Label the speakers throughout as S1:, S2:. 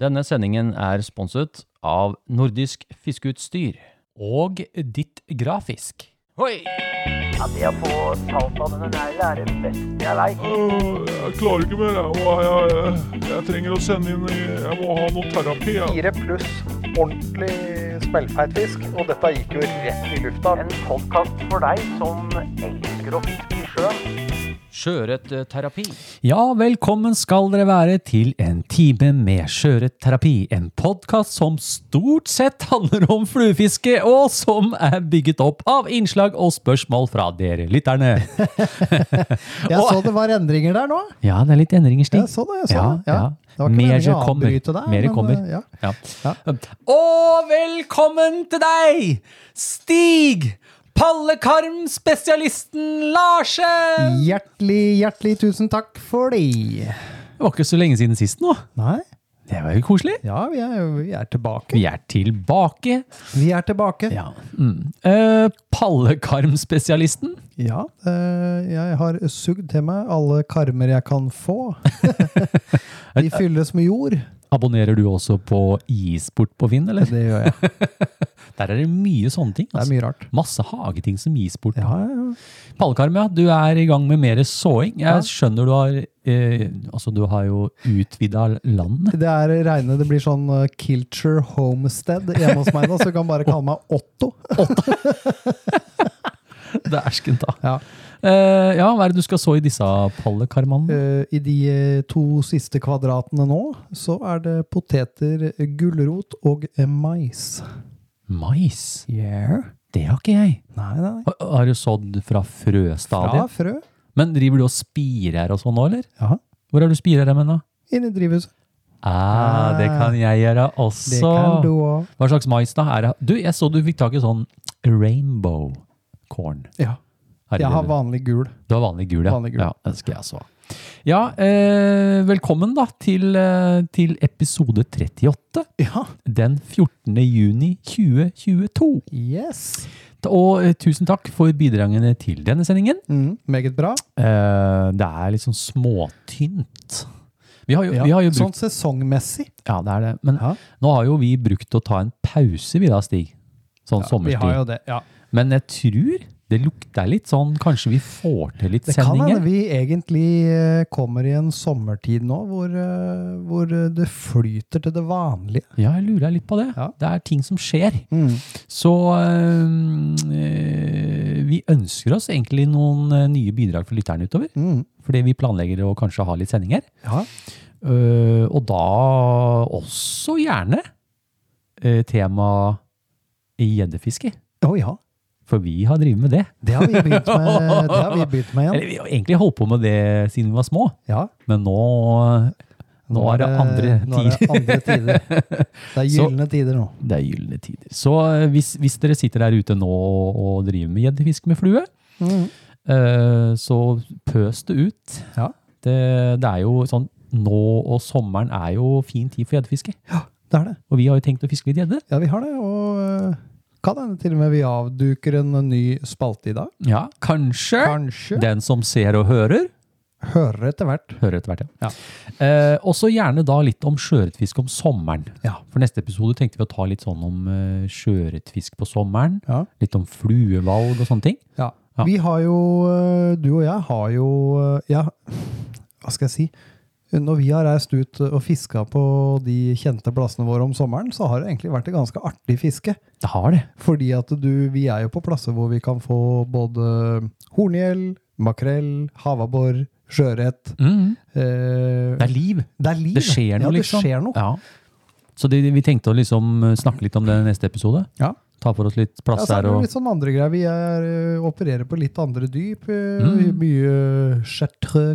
S1: Denne sendingen er sponset av Nordisk Fiskeutstyr.
S2: Og ditt grafisk.
S1: Hoi!
S3: Ja, det å få talt av denne neglen er det beste jeg veit.
S4: Åh, Jeg klarer ikke mer. Jeg, Åh, jeg, jeg, jeg trenger å sende inn i- Jeg må ha noe terapi. Jeg.
S5: Fire pluss ordentlig smellfeit fisk, og dette gikk jo rett i lufta.
S3: En podkast for deg som elsker å fiske i sjøen.
S1: Sjøørretterapi.
S2: Ja, velkommen skal dere være til en time med sjøørretterapi. En podkast som stort sett handler om fluefiske, og som er bygget opp av innslag og spørsmål fra dere lytterne.
S6: Jeg så det var endringer der nå.
S2: Ja, det er litt endringer, Stig.
S6: Jeg så sånn det. jeg så det. Ja. Det var ikke
S2: Mer
S6: meningen å
S2: kommer.
S6: avbryte deg.
S2: Mer
S6: men,
S2: kommer.
S6: eh, Ja.
S2: Ja. Og velkommen til deg, Stig Pallekarmspesialisten Larsen!
S6: Hjertelig, hjertelig tusen takk for det.
S2: Det var ikke så lenge siden sist nå.
S6: Nei,
S2: Det var jo koselig.
S6: ja, vi er, vi er tilbake.
S2: Vi er tilbake.
S6: Vi er tilbake.
S2: Ja. Mm. Eh, Pallekarmspesialisten.
S6: Ja, eh, jeg har sugd til meg alle karmer jeg kan få. De fylles med jord.
S2: Abonnerer du også på isport på Finn, eller?
S6: Det gjør jeg.
S2: Der er det mye sånne ting.
S6: Det er
S2: Altså.
S6: mye rart.
S2: Masse hageting som isport.
S6: Ja, ja, ja.
S2: Pallekarm, ja. Du er i gang med mer såing. Jeg skjønner du har eh, Altså, du har jo utvida landet.
S6: Det er reine, det blir sånn eh, Kilture Homestead hjemme hos meg nå, så du kan bare kalle meg Otto.
S2: Dæsken ta.
S6: Ja.
S2: Eh, ja, hva er det du skal så i disse pallekarmene?
S6: Eh, I de eh, to siste kvadratene nå, så er det poteter, eh, gulrot og eh, mais.
S2: Mais.
S6: Yeah.
S2: Det har ikke jeg.
S6: Nei, nei.
S2: Har, har du sådd fra
S6: Fra
S2: frøstadiet?
S6: frø.
S2: Men driver du og spirer og sånn nå, eller?
S6: Ja.
S2: Hvor er du spirer dem hen, da?
S6: Inn i drivhuset.
S2: Ah, det kan jeg gjøre også.
S6: Det kan du òg.
S2: Hva slags mais da? Er det? Du, jeg så du fikk tak i sånn rainbow corn.
S6: Ja.
S2: Er det
S6: Jeg har
S2: det du-
S6: vanlig gul.
S2: Du har vanlig gul, ja.
S6: vanlig gul.
S2: Ja, den skal jeg også ha. Ja, eh, velkommen da til, eh, til episode 38.
S6: Ja.
S2: Den 14. juni 2022.
S6: Yes.
S2: Og eh, tusen takk for bidragene til denne sendingen.
S6: Mm, meget bra.
S2: Eh, det er litt sånn småtynt. Vi har jo,
S6: Ja.
S2: vi har jo brukt
S6: Sånn sesongmessig.
S2: Ja, det er det. Men
S6: Ja.
S2: nå har jo vi brukt å ta en pause, vi da, Stig. Sånn
S6: Vi
S2: sommerstid.
S6: har jo det. Ja.
S2: Men jeg tror det lukter litt sånn Kanskje vi får til litt
S6: Det kan hende
S2: sendinger?
S6: vi egentlig eh, kommer i en sommertid nå hvor, eh, hvor eh, det flyter til det vanlige. Mm,
S2: Ja, jeg lurer litt på det.
S6: Ja.
S2: Det er ting som skjer. Så eh, vi ønsker oss egentlig noen eh, nye bidrag for lytterne utover.
S6: Mm.
S2: Fordi vi planlegger å kanskje ha litt sendinger.
S6: Ja.
S2: Eh, og da også gjerne eh, tema gjeddefiske.
S6: Å ja.
S2: For vi har drevet med det.
S6: Det har vi begynt med, det har vi begynt med igjen.
S2: Eller vi har egentlig holdt på med det siden vi var små,
S6: Ja.
S2: men nå, nå er det andre
S6: Nå
S2: tider.
S6: er det andre tider. Det er
S2: Så-
S6: gylne tider nå.
S2: Det er gylne tider. Så eh, hvis, hvis dere sitter der ute nå og driver med gjeddefisk med flue,
S6: Mm.
S2: eh, så pøs det ut.
S6: Ja.
S2: Det, det er jo sånn, nå og sommeren er jo fin tid for gjeddefiske.
S6: Det er det.
S2: Og vi har jo tenkt å fiske litt gjedde.
S6: Ja, vi har det. Og øh, kan hende til og med vi avduker en ny spalte i dag.
S2: Ja, kanskje.
S6: Kanskje.
S2: Den som ser og hører,
S6: Hører etter hvert.
S2: hører etter hvert, ja. Eh, og så gjerne da litt om sjøørretfiske om sommeren.
S6: Ja.
S2: For neste episode tenkte vi å ta litt sånn om eh, sjøørretfisk på sommeren.
S6: Ja.
S2: Litt om fluevalg og sånne ting.
S6: Ja.
S2: Ja.
S6: Vi har jo øh, Du og jeg har jo øh, Ja, hva skal jeg si? Når vi har reist ut og fiska på de kjente plassene våre om sommeren, så har det egentlig vært et ganske artig fiske.
S2: Det har det.
S6: Fordi at du, vi er jo på plasser hvor vi kan få både horngjell, makrell, havabbor, sjøørret. Eh,
S2: Det er liv.
S6: det er liv.
S2: Det skjer noe,
S6: ja, det
S2: liksom.
S6: Skjer noe.
S2: Ja. Så det, vi tenkte å liksom eh, snakke litt om det i neste episode.
S6: Ja.
S2: Ta for oss litt
S6: Ja,
S2: plass
S6: så er
S2: her.
S6: det jo
S2: Og,
S6: litt sånn andre greier. Vi er, eh, opererer på litt andre dyp. eh,
S2: Mm.
S6: Mye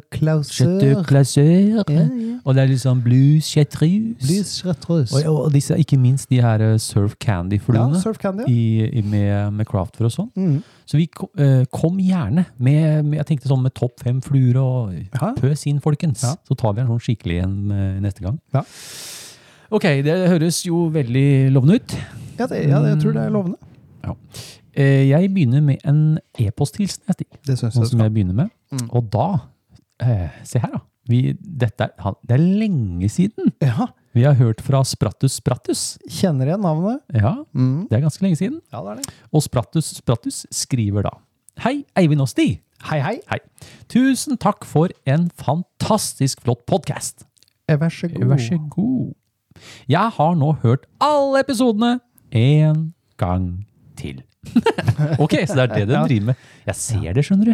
S2: Chateau
S6: chatreux-clauseur.
S2: Clauseur.
S6: eh, Ja, ja.
S2: Og det er litt sånn blues chartreuse.
S6: Lys chartreuse.
S2: Og, og disse, ikke minst de her eh, Surf
S6: Ja,
S2: Candy-fluene
S6: surf candy. ja.
S2: i- i- med, med craft for og sånn.
S6: Mm.
S2: Så vi ko- eh, kom gjerne med, med jeg tenkte sånn med topp fem fluer og
S6: Ja.
S2: pøs inn, folkens.
S6: Ja.
S2: Så tar vi en sånn skikkelig en eh, neste gang.
S6: Ja.
S2: Ok, det høres jo veldig lovende ut.
S6: Ja, det, ja, det, jeg tror
S2: Mm.
S6: det er lovende.
S2: Eh, Jeg begynner med en e-posthilsen, jeg, Stig.
S6: Det syns
S2: Sånn som
S6: jeg. skal. Mm.
S2: jeg begynner med. Og da eh, Se her, da. Vi, dette er, han- det er lenge siden.
S6: Ja,
S2: Vi har hørt fra Sprattus Sprattus.
S6: Kjenner igjen navnet.
S2: Ja,
S6: Mm.
S2: det er ganske lenge siden.
S6: Ja, det er det.
S2: Og Sprattus Sprattus skriver da Hei, Eivind og Stig.
S6: Hei, hei.
S2: Hei. Tusen takk for en fantastisk flott podkast.
S6: Eh, Vær så god.
S2: Vær så god. Jeg har nå hørt alle episodene en gang til. ok, så det er det den driver med. Jeg ser det, skjønner du.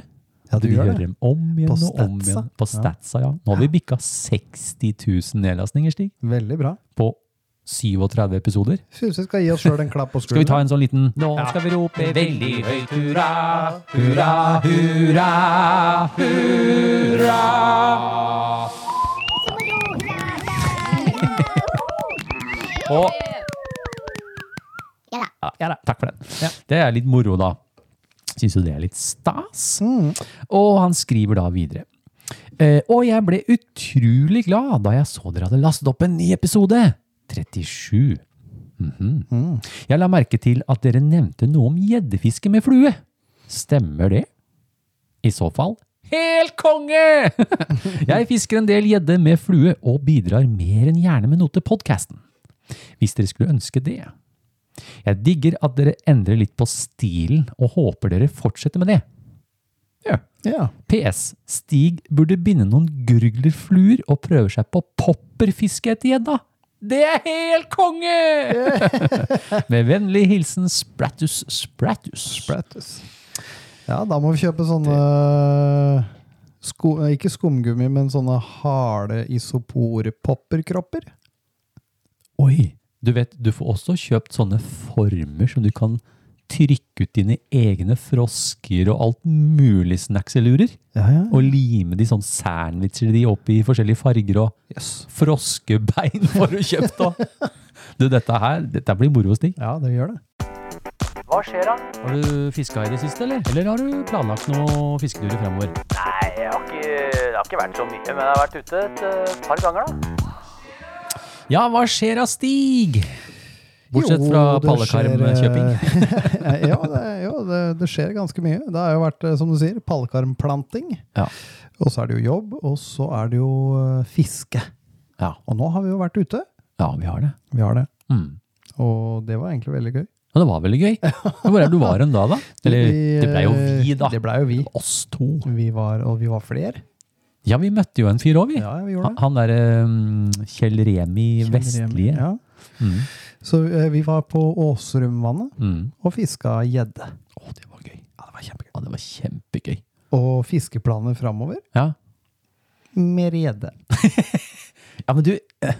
S6: Ja, du
S2: Vi
S6: gjør
S2: hører
S6: det.
S2: dem om igjen
S6: På
S2: og om
S6: statsa.
S2: igjen. På statsa, ja. Nå har vi bikka 60 000 nedlastninger, Stig,
S6: Veldig bra.
S2: på 37 episoder.
S6: Syns vi skal gi oss sjøl en klapp på
S2: Skal vi
S6: skulderen.
S2: ta en sånn liten Nå skal vi rope veldig høyt hurra, hurra, hurra, hurra. Og
S7: Ja da.
S2: Ja da. Takk for den. Det er litt moro, da. Syns jo det er litt stas. Og han skriver da videre. Eh, og jeg ble utrolig glad da jeg så dere hadde lastet opp en ny episode. 37. Mhm. Jeg la merke til at dere nevnte noe om gjeddefiske med flue. Stemmer det? I så fall helt konge! jeg fisker en del gjedde med flue og bidrar mer enn gjerne med noe til podkasten. Hvis dere skulle ønske det. Jeg digger at dere endrer litt på stilen, og håper dere fortsetter med det. Ja.
S6: Ja.
S2: PS. Stig burde binde noen gurglerfluer og prøve seg på popperfiske etter gjedda. Det er helt konge! Med vennlig hilsen Sprattus Sprattus.
S6: Bratus. Ja, da må vi kjøpe sånne sko, Ikke skumgummi, men sånne harde isoporpopperkropper.
S2: Oi! Du vet, du får også kjøpt sånne former som du kan trykke ut dine egne frosker og alt mulig snackselurer.
S6: Ja, ja.
S2: Og lime de sånn sandwicher de opp i forskjellige farger og
S6: Yes.
S2: froskebein får du kjøpt da. Du, dette her, dette blir moro, Stig.
S6: Ja, det gjør det.
S3: Hva skjer da?
S2: Har du fiska i det siste, eller? Eller har du planlagt noen fisketurer fremover?
S3: Nei, jeg har ikke, det har ikke vært så mye, men jeg har vært ute et eh, par ganger da.
S2: Ja, hva skjer da, Stig? Bortsett
S6: Jo,
S2: fra
S6: det
S2: pallekarmkjøping.
S6: skjer- eh, ja, det, jo det, det skjer ganske mye. Det har jo vært, eh, som du sier, pallekarmplanting.
S2: Ja.
S6: Og så er det jo jobb, og så er det jo eh, fiske.
S2: Ja.
S6: Og nå har vi jo vært ute.
S2: ja, vi har det.
S6: Vi har det.
S2: Mm.
S6: Og det var egentlig veldig gøy.
S2: Ja, det var veldig gøy. Hvor er det du var hen da, da? Eller,
S6: Vi, eh,
S2: det ble jo vi, da.
S6: Det ble jo vi.
S2: Oss to.
S6: vi var, og vi var flere.
S2: Ja, vi møtte jo en fyr òg, vi.
S6: Ja, vi gjorde
S2: Han
S6: det.
S2: han derre mm, Kjell Remi Vestlie.
S6: Ja.
S2: Mm.
S6: Så eh, vi var på Åsrumvannet
S2: Mm.
S6: og fiska gjedde.
S2: Å, det var gøy. Ja, det var kjempegøy. Ja, det var kjempegøy.
S6: Og fiskeplaner framover
S2: Ja.
S6: med gjedde.
S2: ja, men du, eh,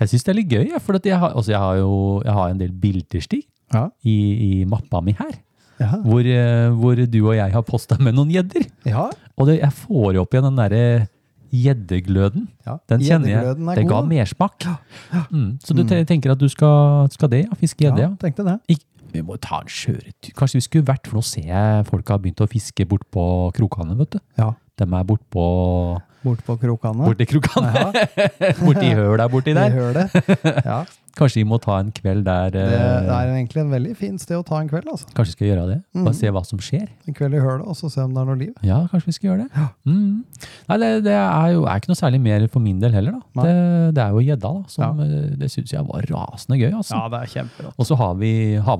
S2: jeg syns det er litt gøy, jeg, for at jeg, har, altså, jeg har jo jeg har en del bilder, Stig,
S6: Ja.
S2: i, i mappa mi her,
S6: Ja.
S2: hvor, eh, hvor du og jeg har posta med noen gjedder.
S6: ja.
S2: Og det, jeg får jo opp igjen den derre gjeddegløden.
S6: Ja,
S2: Den kjenner jeg.
S6: gjeddegløden er
S2: Det
S6: god,
S2: ga
S6: da.
S2: mersmak. Mm, så du te- tenker at du skal, skal det, ja? Fiske gjedde, ja?
S6: tenkte det.
S2: Ik vi må ta en kjøretur. Kanskje vi skulle vært, for nå ser jeg folka har begynt å fiske bort på krokane, vet du.
S6: Ja.
S2: De er bort på
S6: Bort på krokene.
S2: Borti krokane. borti høla borti
S6: I
S2: der.
S6: hølet. Ja.
S2: Kanskje vi må ta en kveld der
S6: Det,
S2: eh,
S6: det er Mm. egentlig en veldig fin sted å ta en kveld. altså.
S2: Kanskje vi skal gjøre det? Bare se hva som skjer.
S6: En kveld i hølet, og så se om det er noe liv.
S2: Ja, kanskje vi skal gjøre det. Mm. Nei, det, det er jo er ikke noe særlig mer for min del heller, da.
S6: Nei.
S2: Det, det er jo gjedda, da. Som, eh, Det syns jeg var rasende gøy, altså.
S6: det er kjempebra.
S2: Og så har vi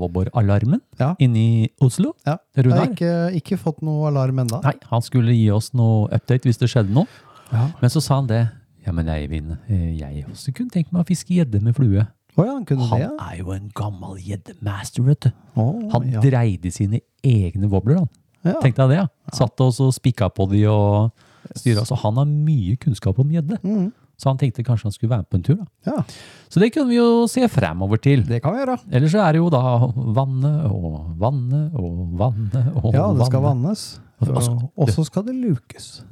S2: havabbor-alarmen
S6: Ja.
S2: inne i Oslo.
S6: Ja. Jeg har
S2: Runar.
S6: ikke, ikke fått noe alarm ennå.
S2: Nei, han skulle gi oss noe update hvis det skjedde noe.
S6: Ja.
S2: Men så sa han det. Ja, men Eivind, eh, jeg også kunne tenke meg å fiske gjedde med flue.
S6: Å ja, han kunne
S2: Han
S6: det? ja.
S2: er jo en gammel gjeddemaster, vet du.
S6: Å,
S2: Han
S6: ja.
S2: dreide sine egne wobbler, han.
S6: Ja.
S2: Tenk deg det, ja. Satt og så spikka på de og styra. Så han har mye kunnskap om gjedde.
S6: Mm.
S2: Så han tenkte kanskje han skulle være med på en tur, da.
S6: Ja,
S2: Så det kunne vi jo se fremover til.
S6: det kan vi gjøre.
S2: Ellers så er det jo da vannet og vannet og vannet og
S6: Ja, det skal
S2: vannet.
S6: vannes.
S2: Og- og så-
S6: Og så skal det lukes.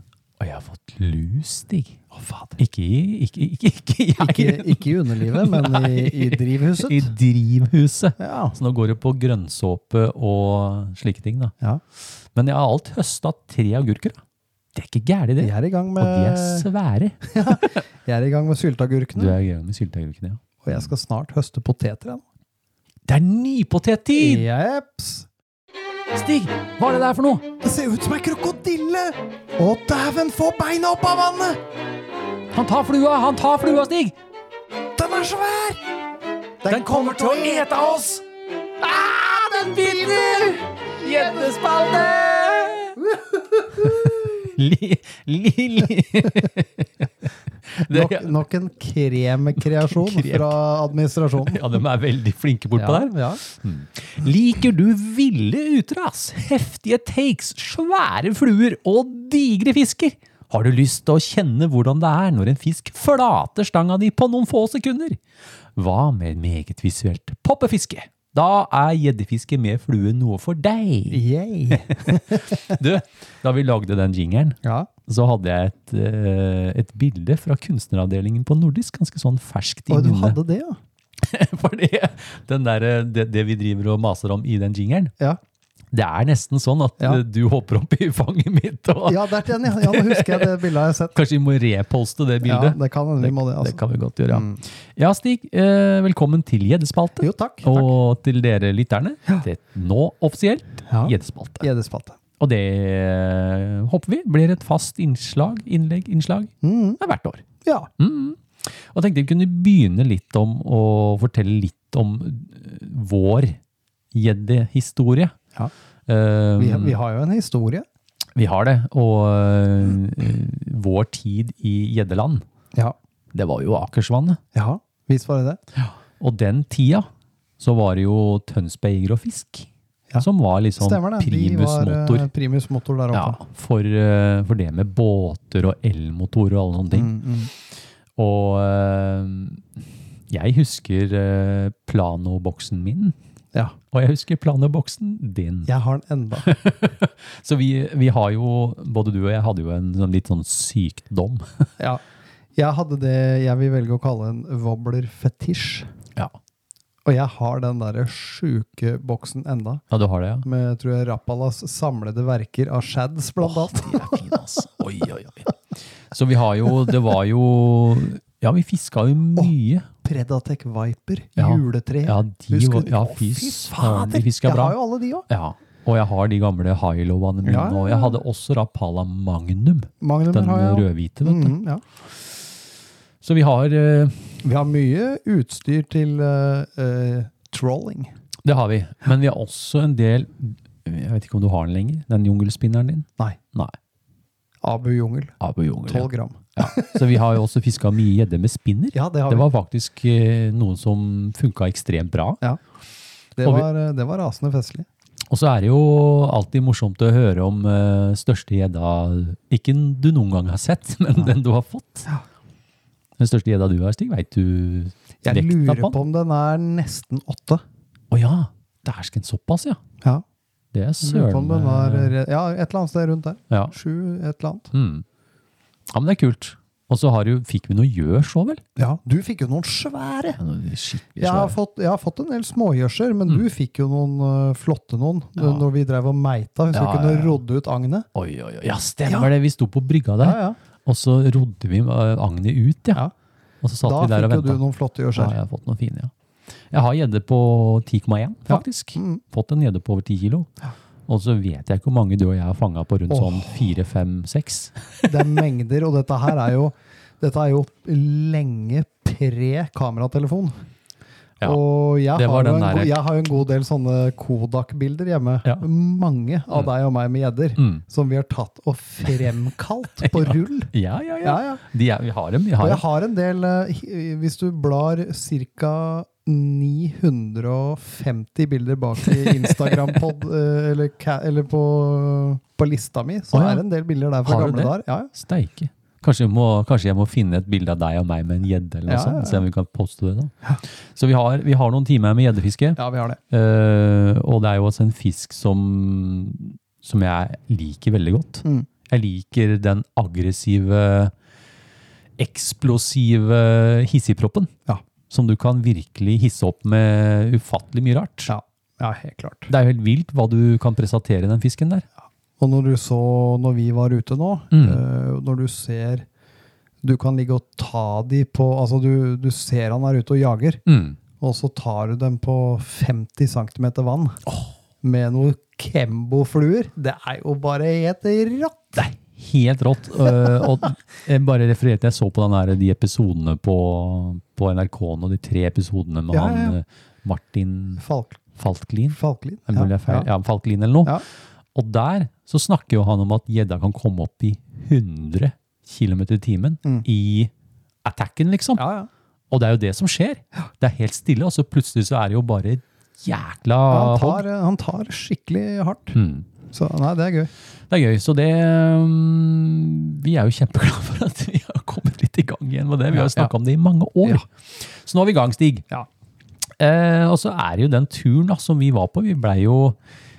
S2: Og jeg har fått lus, Stig. Å, fader. Ikke i ikke, ikke, ikke,
S6: Ikke,
S2: jeg.
S6: ikke i underlivet, men i, i drivhuset.
S2: I drivhuset.
S6: Ja.
S2: Så nå går det på grønnsåpe og slike ting, da.
S6: ja.
S2: Men jeg har alt høsta tre agurker. da. Det er ikke gærent, det.
S6: Jeg er i gang
S2: Og de er
S6: med,
S2: svære.
S6: jeg er i gang med
S2: Du
S6: sylteagurkene,
S2: er i gang med sylteagurkene, ja.
S6: og jeg skal snart høste poteter igjen.
S2: Det er nypotettid!
S6: Jeps.
S2: Stig, hva er det der for noe?
S6: Det ser ut som ei krokodille! Å, dæven, få beina opp av vannet!
S2: Han tar flua! Han tar flua, Stig!
S6: Den
S2: er svær! Den kommer til å ete oss! Ah, den vinner! Gjeddespalte! li, li, li.
S6: Nok,
S2: Det,
S6: nok en kremkreasjon
S2: Krem.
S6: fra administrasjonen.
S2: ja, de er veldig flinke bortpå der.
S6: ja.
S2: Liker du ville utras, heftige takes, svære fluer og digre fisker? Har du lyst til å kjenne hvordan det er når en fisk flater stanga di på noen få sekunder? Hva med et meget visuelt poppefiske? Da er gjeddefiske med flue noe for deg.
S6: Yay.
S2: Du, da vi lagde den jingeren,
S6: Ja.
S2: så hadde jeg et, eh, et bilde fra kunstneravdelingen på Nordisk, ganske sånn ferskt i
S6: Og du
S2: minnet.
S6: hadde det, ja?
S2: Fordi den der, eh, det, det vi driver og maser om i den jingeren,
S6: Ja,
S2: det er nesten sånn at
S6: Ja.
S2: eh, du hopper opp i fanget mitt. Og
S6: ja der den, ja. ja nå husker jeg det bildet jeg har sett.
S2: Kanskje vi må reposte det
S6: Ja,
S2: bildet?
S6: det kan hende vi må det.
S2: det
S6: Altså.
S2: kan vi godt gjøre, ja. Ja, Stig, eh, velkommen til Gjeddespalte.
S6: Jo, takk. takk.
S2: Og til dere lytterne. Det er nå offisielt
S6: Ja.
S2: Gjeddespalte.
S6: Gjeddespalte.
S2: Og det eh, håper vi blir et fast innslag, innlegg, innslag
S6: Mm,
S2: ja, hvert år. Mm.
S6: ja.
S2: Og tenkte vi kunne begynne litt om å fortelle litt om eh, vår gjeddehistorie.
S6: Ja.
S2: Eh,
S6: Vi, vi har jo en historie.
S2: Vi har det, og øh, vår tid i Gjeddeland,
S6: Ja.
S2: det var jo Akersvannet.
S6: ja. Vis var det det.
S2: Og den tida så var det jo Tønsberger og Fisk,
S6: Ja.
S2: som var liksom
S6: Stemmer det. De
S2: primus
S6: var eh,
S2: motor.
S6: primus motor der
S2: Ja,
S6: oppe.
S2: for, øh, for det med båter og elmotor og alle sånne ting.
S6: Mm, mm.
S2: Og øh, jeg husker øh, planoboksen min,
S6: ja.
S2: og jeg husker planoboksen din.
S6: Jeg har den enda.
S2: Så vi, vi har jo, både du og jeg hadde jo en sånn litt sånn sykdom.
S6: Ja. Jeg hadde det jeg vil velge å kalle en wobbler-fetisj.
S2: Ja,
S6: Og jeg har den derre sjuke boksen enda.
S2: ja du har det, ja.
S6: Med tror jeg, Rappalas samlede verker av shads, blant annet.
S2: De er fine, altså. Oi, oi, oi. Så vi har jo Det var jo Ja, vi fiska jo mye.
S6: Predatec Viper,
S2: Ja.
S6: juletre.
S2: Ja, de
S6: Husker
S2: var,
S6: du?
S2: ja
S6: Å,
S2: fy faen, de fiska
S6: Jeg
S2: bra.
S6: har jo alle de òg.
S2: Ja. Og jeg har de gamle Hilo-ene mine.
S6: Ja, ja,
S2: Og
S6: ja.
S2: jeg hadde også Rapala Magnum.
S6: Magnumer
S2: Den
S6: har jeg òg.
S2: rødhvite, vet du.
S6: Mm, ja.
S2: Så vi har eh,
S6: Vi har mye utstyr til eh, eh, trolling.
S2: Det har vi. Men vi har også en del Jeg vet ikke om du har den lenger? Den jungelspinneren din?
S6: Nei,
S2: Nei.
S6: Abu Jungel.
S2: Abu Jungel. ja.
S6: Tolv gram.
S2: Så vi har jo også fiska mye gjedde med spinner.
S6: Ja, det har
S2: Det
S6: vi.
S2: var faktisk eh, noen som funka ekstremt bra.
S6: Det
S2: og vi-
S6: var, eh, det var rasende festlig.
S2: Og så er det jo alltid morsomt å høre om eh, største gjedda Ikke den du noen gang har sett, men den du har fått.
S6: Ja.
S2: Den største gjedda du har, Stig, veit du
S6: Jeg
S2: vekta
S6: lurer
S2: på den?
S6: på om den er nesten åtte.
S2: Å ja! Dæsken, såpass, ja.
S6: Ja,
S2: Det er
S6: lurer på om
S2: søren
S6: den var,
S2: eh,
S6: re- ja et eller annet sted rundt der.
S2: ja.
S6: Sju, et eller annet.
S2: Mm. ja, men det er kult. Og så har jo- fikk vi noe gjørs òg, vel?
S6: Ja, du fikk jo noen svære.
S2: Ja, noe skikkelig
S6: Jeg har,
S2: svært.
S6: fått, jeg har fått en del smågjørser, men du fikk jo noen eh, flotte noen
S2: Mm. Ja.
S6: N- når vi drev og meita. Hvis
S2: Ja,
S6: vi kunne
S2: ja, ja.
S6: rodde ut agnet.
S2: Oi, oi, oi. Ja, stemmer det! Vi sto på brygga der,
S6: Ja, ja.
S2: og så rodde vi eh, agnet ut, ja.
S6: Ja.
S2: Og så satt
S6: Da
S2: vi der
S6: fikk
S2: og
S6: jo du
S2: venta.
S6: noen flotte
S2: Ja,
S6: gjørser.
S2: jeg har fått noen fine, ja. Jeg har gjedde på 10,1, faktisk.
S6: Mm.
S2: Fått en gjedde på over 10 kilo. Og så vet jeg ikke hvor mange du og jeg har fanga på rundt
S6: Åh.
S2: sånn 4-5-6.
S6: Det er mengder, og dette her er jo, dette er jo lenge pre-kameratelefon.
S2: Ja,
S6: og jeg
S2: det var
S6: har, jo
S2: den
S6: en
S2: der-
S6: god, jeg har jo en god del sånne Kodak-bilder hjemme.
S2: Ja.
S6: Mange av deg og meg med gjedder.
S2: Mm.
S6: Som vi har tatt og fremkalt på rull.
S2: Ja, ja, ja.
S6: Ja, ja.
S2: De er, vi har dem. Vi har
S6: Og jeg
S2: dem.
S6: har en del eh, hi- Hvis du blar ca. 950 bilder bak i Instagram-pod eh, eller, ca- eller på, på lista mi, så
S2: Å, ja.
S6: er det en del bilder der fra
S2: Har du
S6: gamle dager.
S2: det?
S6: Ja, ja.
S2: Steike. Kanskje, jeg må- kanskje jeg må finne et bilde av deg og meg med en gjedde, eller noe
S6: Ja, ja,
S2: sånt. Se om vi kan poste det. da. Så vi har, vi har noen timer med gjeddefiske.
S6: ja, vi har det.
S2: Eh, og det er jo også en fisk som, som jeg liker veldig godt.
S6: Mm.
S2: Jeg liker den aggressive, eksplosive hissigproppen.
S6: Ja.
S2: Som du kan virkelig hisse opp med ufattelig mye rart.
S6: Ja, ja helt klart.
S2: Det er jo helt vilt hva du kan presentere i den fisken der.
S6: Og når du så, når vi var ute nå,
S2: Mm.
S6: eh, når du ser Du kan ligge og ta de på Altså, du, du ser han er ute og jager,
S2: Mm.
S6: og så tar du dem på 50 cm vann med noen Kembo-fluer. Det er jo bare helt rått!
S2: Det er helt rått. øh, og jeg bare refererte Jeg så på den her, de episodene på, på NRK nå, de tre episodene med
S6: Ja, ja, ja.
S2: han øh, Martin
S6: Falk,
S2: Falklin.
S6: Falklin.
S2: Er det mulig jeg er feil? Ja, Falklin eller noe.
S6: Ja.
S2: Og der så snakker jo han om at gjedda kan komme opp i 100 km i timen i attacken, liksom.
S6: Mm. Ja, ja.
S2: Og det er jo det som skjer. Det er helt stille, og så plutselig så er det jo bare jækla
S6: Han
S2: hogg.
S6: tar, han tar skikkelig hardt.
S2: Mm.
S6: Så nei, det er gøy.
S2: Det er gøy. Så det um, Vi er jo kjempeglade for at vi har kommet litt i gang igjen med det. Vi har jo snakka om det i mange år.
S6: Ja.
S2: Så nå er vi i gang, Stig.
S6: Ja.
S2: Eh, og så er det jo den turen da, som vi var på. Vi blei jo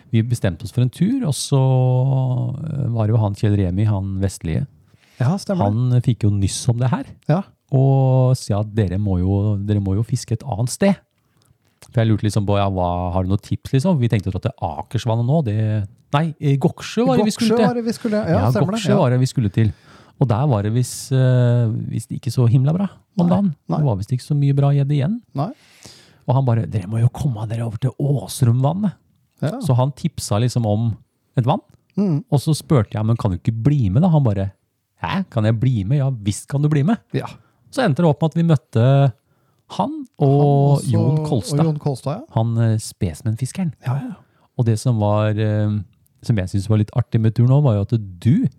S2: vi bestemte oss for en tur, og så eh, var det jo han Kjell Remi, han vestlige.
S6: Ja, stemmer det.
S2: Han fikk jo nyss om det her,
S6: Ja.
S2: og sa at dere må jo, dere må jo fiske et annet sted. For jeg lurte liksom på, ja, hva, har du noen tips liksom? Vi tenkte å dra til Akersvannet nå, det... Nei, eh, Goksjø var det vi skulle
S6: Goksjø
S2: til.
S6: var det vi skulle Ja,
S2: Ja,
S6: stemmer det.
S2: Goksjø
S6: Ja.
S2: var det vi skulle til. Og der var det visst eh, visst ikke så himla bra om
S6: Nei,
S2: dagen.
S6: nei.
S2: Det var visst ikke så mye bra gjedde igjen.
S6: Nei.
S2: Og han bare 'Dere må jo komme dere over til Åsrumvannet'.
S6: Ja.
S2: Så han tipsa liksom om et vann.
S6: Mm.
S2: Og så spurte jeg men kan du ikke bli med. da? Han bare 'Hæ, kan jeg bli med?' Ja visst kan du bli med.
S6: Ja.
S2: Så endte det opp med at vi møtte han og,
S6: Også-
S2: Jon Kolstad.
S6: Og Jon Kolstad, ja.
S2: Han eh, spesmennfiskeren.
S6: Ja, ja.
S2: Og det som var eh, som jeg syntes var litt artig med turen òg, var jo at du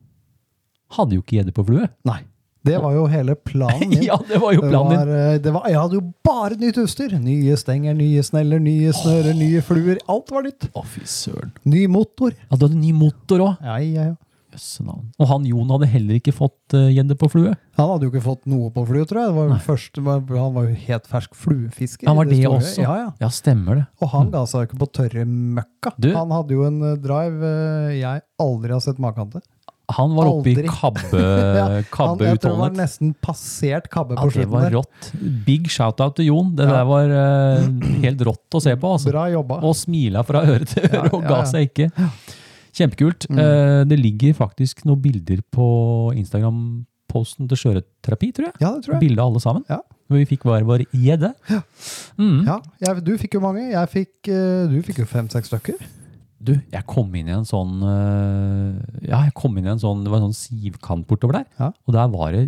S2: hadde jo ikke gjedde på flue.
S6: Nei. Det var jo hele planen min.
S2: Ja, det var jo
S6: Det
S2: planen
S6: var,
S2: din.
S6: eh, det var, jeg hadde jo bare nytt utstyr. Nye stenger, nye sneller, nye snører, nye fluer. Alt var nytt.
S2: Å, fy søren.
S6: Ny motor.
S2: Ja, du hadde ny motor òg.
S6: Ja, ja, ja.
S2: Og han Jon hadde heller ikke fått eh, gjedde på flue.
S6: Han hadde jo ikke fått noe på flue, tror jeg. Det var jo først, han var jo helt fersk fluefisker.
S2: Han
S6: i
S2: var det
S6: store.
S2: også.
S6: Ja, ja.
S2: Ja, stemmer det.
S6: Og han ga seg jo ikke på tørre møkka.
S2: Du-
S6: Han hadde jo en eh, drive eh, jeg aldri har sett maken til.
S2: Han var oppe i
S6: Aldri.
S2: Eh, kabbe,
S6: han, jeg tror det var
S2: kabbeutholdenhet.
S6: nesten passert kabbe
S2: Ja,
S6: på
S2: det
S6: slutten
S2: var
S6: der.
S2: rått. Big shout-out til Jon. Det
S6: Ja.
S2: der var eh, helt rått å se på. Altså.
S6: Bra jobba.
S2: Og smila fra øre til øre og
S6: ja,
S2: ga
S6: ja. Mm.
S2: seg ikke. Kjempekult. Eh, det ligger faktisk noen bilder på Instagram-posten til Sjøørretterapi, tror jeg.
S6: Ja, det tror jeg.
S2: Bilde av alle sammen.
S6: Ja.
S2: Hvor vi fikk hver vår gjedde. Mm.
S6: Ja, jeg, du fikk jo mange. Jeg fikk, eh, du fikk jo fem-seks stykker.
S2: Du, jeg kom inn i en sånn øh, Ja, jeg kom inn i en sånn Det var en sånn sivkant bortover der.
S6: Ja.
S2: Og der var det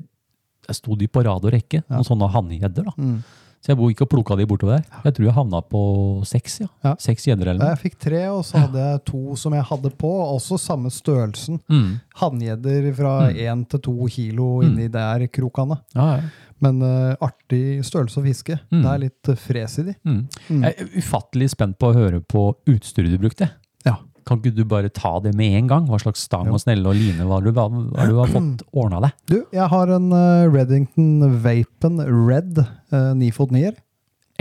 S2: Jeg sto de på rad og rekke, noen sånne hanngjedder. da.
S6: Mm.
S2: Så jeg bo- gikk og plukka de bortover der. Jeg tror jeg havna på seks, ja.
S6: Ja.
S2: Seks gjedder
S6: Ja,
S2: eller noe.
S6: Jeg fikk tre, og så hadde jeg to som jeg hadde på. Også samme størrelsen.
S2: Mm.
S6: Hanngjedder fra én til to kilo inni der krokene.
S2: Ja, ja.
S6: Men eh, artig størrelse å fiske.
S2: Mm.
S6: Det er litt eh, fres i de.
S2: Mm. Jeg er ufattelig spent på å høre på utstyret du brukte.
S6: Ja.
S2: Kan ikke du bare ta det med en gang? Hva slags stang og snelle og line hva du, hva, hva du har fått ordna deg?
S6: Du, jeg har en eh, Reddington Vapen Red eh, ni fot nier.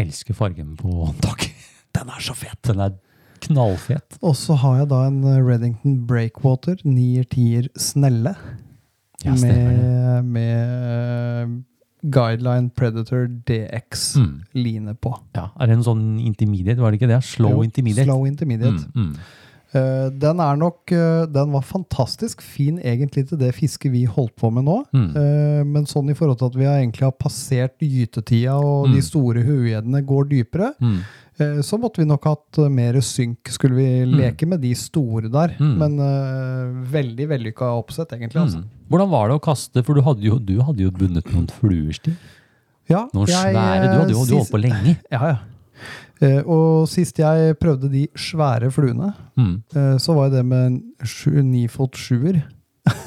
S2: Elsker fargen på håndtaket. Den er så fet! Den er knallfet.
S6: Og så har jeg da en eh, Reddington Breakwater nier-tier snelle.
S2: Ja, stemmer det.
S6: med med eh, Guideline Predator DX
S2: Mm.
S6: line på.
S2: Ja, er det en sånn intermediate, var det ikke det? Slow
S6: Jo,
S2: intermediate.
S6: Slow
S2: Mm,
S6: intermediate.
S2: mm.
S6: Eh, den er nok eh, Den var fantastisk fin egentlig til det fisket vi holdt på med nå.
S2: Mm.
S6: Eh, men sånn i forhold til at vi har egentlig har passert gytetida, og
S2: Mm.
S6: de store huegjeddene går dypere,
S2: Mm.
S6: eh, så måtte vi nok hatt eh, mer synk. Skulle vi leke med de store der.
S2: Mm.
S6: Men eh, veldig vellykka oppsett, egentlig. Altså.
S2: Mm. Hvordan var det å kaste? For du hadde jo, du hadde jo bundet noen fluer, Stig.
S6: Ja,
S2: Noen
S6: jeg,
S2: svære. Du hadde jo du
S6: eh,
S2: holdt på lenge.
S6: Ja, ja. Eh, og sist jeg prøvde de svære fluene,
S2: Mm.
S6: eh, så var jo det med en sju- ni fot sjuer.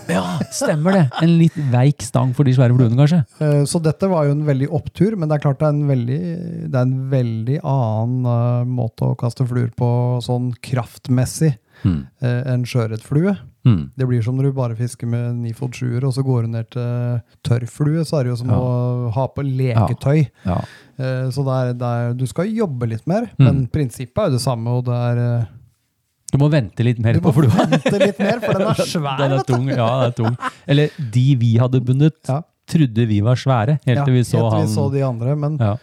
S2: Ja, stemmer det. En litt veik stang for de svære fluene, kanskje.
S6: Eh, Så dette var jo en veldig opptur, men det er klart det er en veldig, det er en veldig annen eh, måte å kaste fluer på sånn kraftmessig
S2: Mm.
S6: eh, enn sjøørretflue.
S2: Mm.
S6: Det blir som når du bare fisker med ni fot sjuer, og så går du ned til tørrflue, så er det jo som
S2: Ja.
S6: å ha på leketøy.
S2: Ja.
S6: Eh, Så det er, det er, du skal jobbe litt mer,
S2: Mm.
S6: men prinsippet er jo det samme, og det er eh,
S2: Du må vente litt mer
S6: Du
S2: på
S6: må
S2: flua.
S6: vente litt mer, for den er svær.
S2: Den er tung. Ja, den er tung. Eller de vi hadde bundet,
S6: Ja.
S2: trodde vi var svære, helt
S6: Ja,
S2: til vi så
S6: helt til
S2: han
S6: vi så de andre, men,
S2: Ja.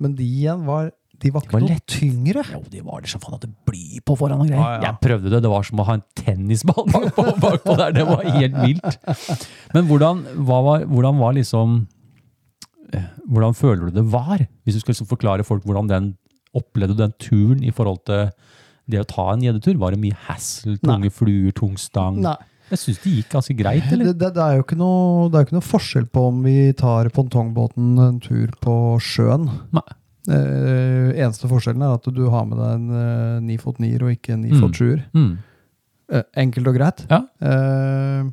S6: men de igjen var De var ikke
S2: var
S6: noe
S2: lett.
S6: tyngre.
S2: Jo, de var det som faen hadde bly på foran og greier.
S6: Ja, ja.
S2: Jeg prøvde det, det var som å ha en tennisball bakpå, bakpå der. Det var helt vilt. Men hvordan, hva var, hvordan var liksom eh, Hvordan føler du det var? Hvis du skal liksom forklare folk hvordan den opplevde du den turen i forhold til det å ta en gjeddetur. Var det mye hassle, tunge fluer, tung stang?
S6: Nei.
S2: Jeg syns det gikk ganske greit, eller?
S6: Det, det, det, er jo ikke noe, det er jo ikke noe forskjell på om vi tar pongtongbåten en tur på sjøen.
S2: Nei.
S6: Eh, eneste forskjellen er at du har med deg en eh, ni fot nier og ikke en ni
S2: Mm.
S6: fot sjuer.
S2: Mm.
S6: Eh, enkelt og greit.
S2: Ja.
S6: Eh,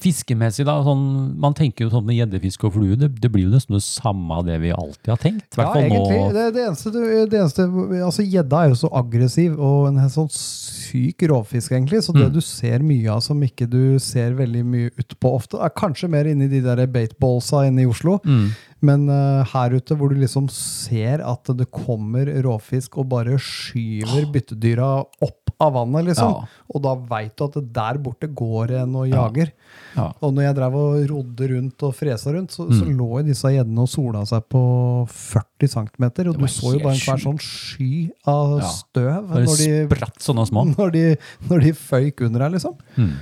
S2: Fiskemessig, da. Sånn, man tenker jo sånn med gjeddefiske og flue, det, det blir jo nesten det samme av det vi alltid har tenkt.
S6: ja,
S2: Hvertfall
S6: egentlig.
S2: nå.
S6: Det, det eneste, du- det eneste altså Gjedda er jo så aggressiv og en helt sånn syk rovfisk, egentlig. Så det
S2: Mm.
S6: du ser mye av som ikke du ser veldig mye ut på ofte, er kanskje mer inni de der baitballsa inne i Oslo.
S2: Mm.
S6: Men eh, her ute, hvor du liksom ser at det kommer råfisk og bare skyver byttedyra opp av vannet, liksom.
S2: Ja.
S6: Og da veit du at det der borte går en og jager.
S2: Ja. Mm.
S6: Og når jeg drev og rodde rundt og fresa rundt, så, så lå jo disse gjeddene og sola seg på 40 cm. Og du
S2: var
S6: så jo
S2: helt
S6: bare en svær
S2: sjukt.
S6: sånn sky av
S2: Ja.
S6: støv
S2: Bare
S6: når de,
S2: spratt sånne små.
S6: når, de, når de føyk under her, liksom.
S2: Mm.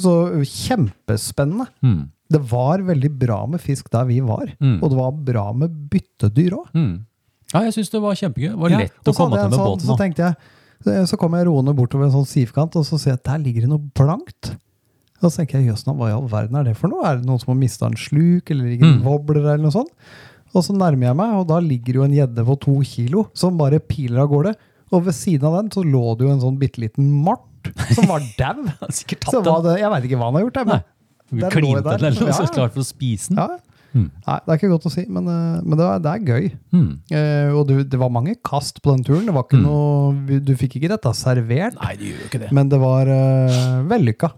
S6: Så kjempespennende.
S2: Mm.
S6: Det var veldig bra med fisk der vi var,
S2: Mm.
S6: og det var bra med byttedyr òg.
S2: Mm. Ja, jeg syns det var kjempegøy. Det var lett å komme til med
S6: sånn,
S2: båten.
S6: Så
S2: da.
S6: tenkte jeg, så kom jeg roende bortover en sånn sivkant, og så ser jeg at der ligger det noe blankt. Og så tenker jeg, jøss, nå, hva i all verden er det for noe? Er det noen som har mista en sluk, eller ligger det
S2: Mm.
S6: en wobbler, eller noe sånt? Og så nærmer jeg meg, og da ligger jo en gjedde på to kilo, som bare piler av gårde. Og ved siden av den så lå det jo en sånn bitte liten mort, som var dau.
S2: Jeg har Sikkert
S6: Så
S2: tatt
S6: hva
S2: den.
S6: det, jeg veit ikke hva han har gjort, jeg,
S2: Nei.
S6: men der lå jeg
S2: Klinte
S6: der.
S2: den eller noe,
S6: Ja,
S2: så Mm.
S6: ja.
S2: klar for å spise den.
S6: ja. Nei, det er ikke godt å si, men, eh, men det, er, det er gøy.
S2: Mm.
S6: Eh, og du, det var mange kast på den turen. Det var ikke noe, vi- du fikk ikke dette servert,
S2: Nei, det gjør jo ikke det.
S6: men det var eh, vellykka.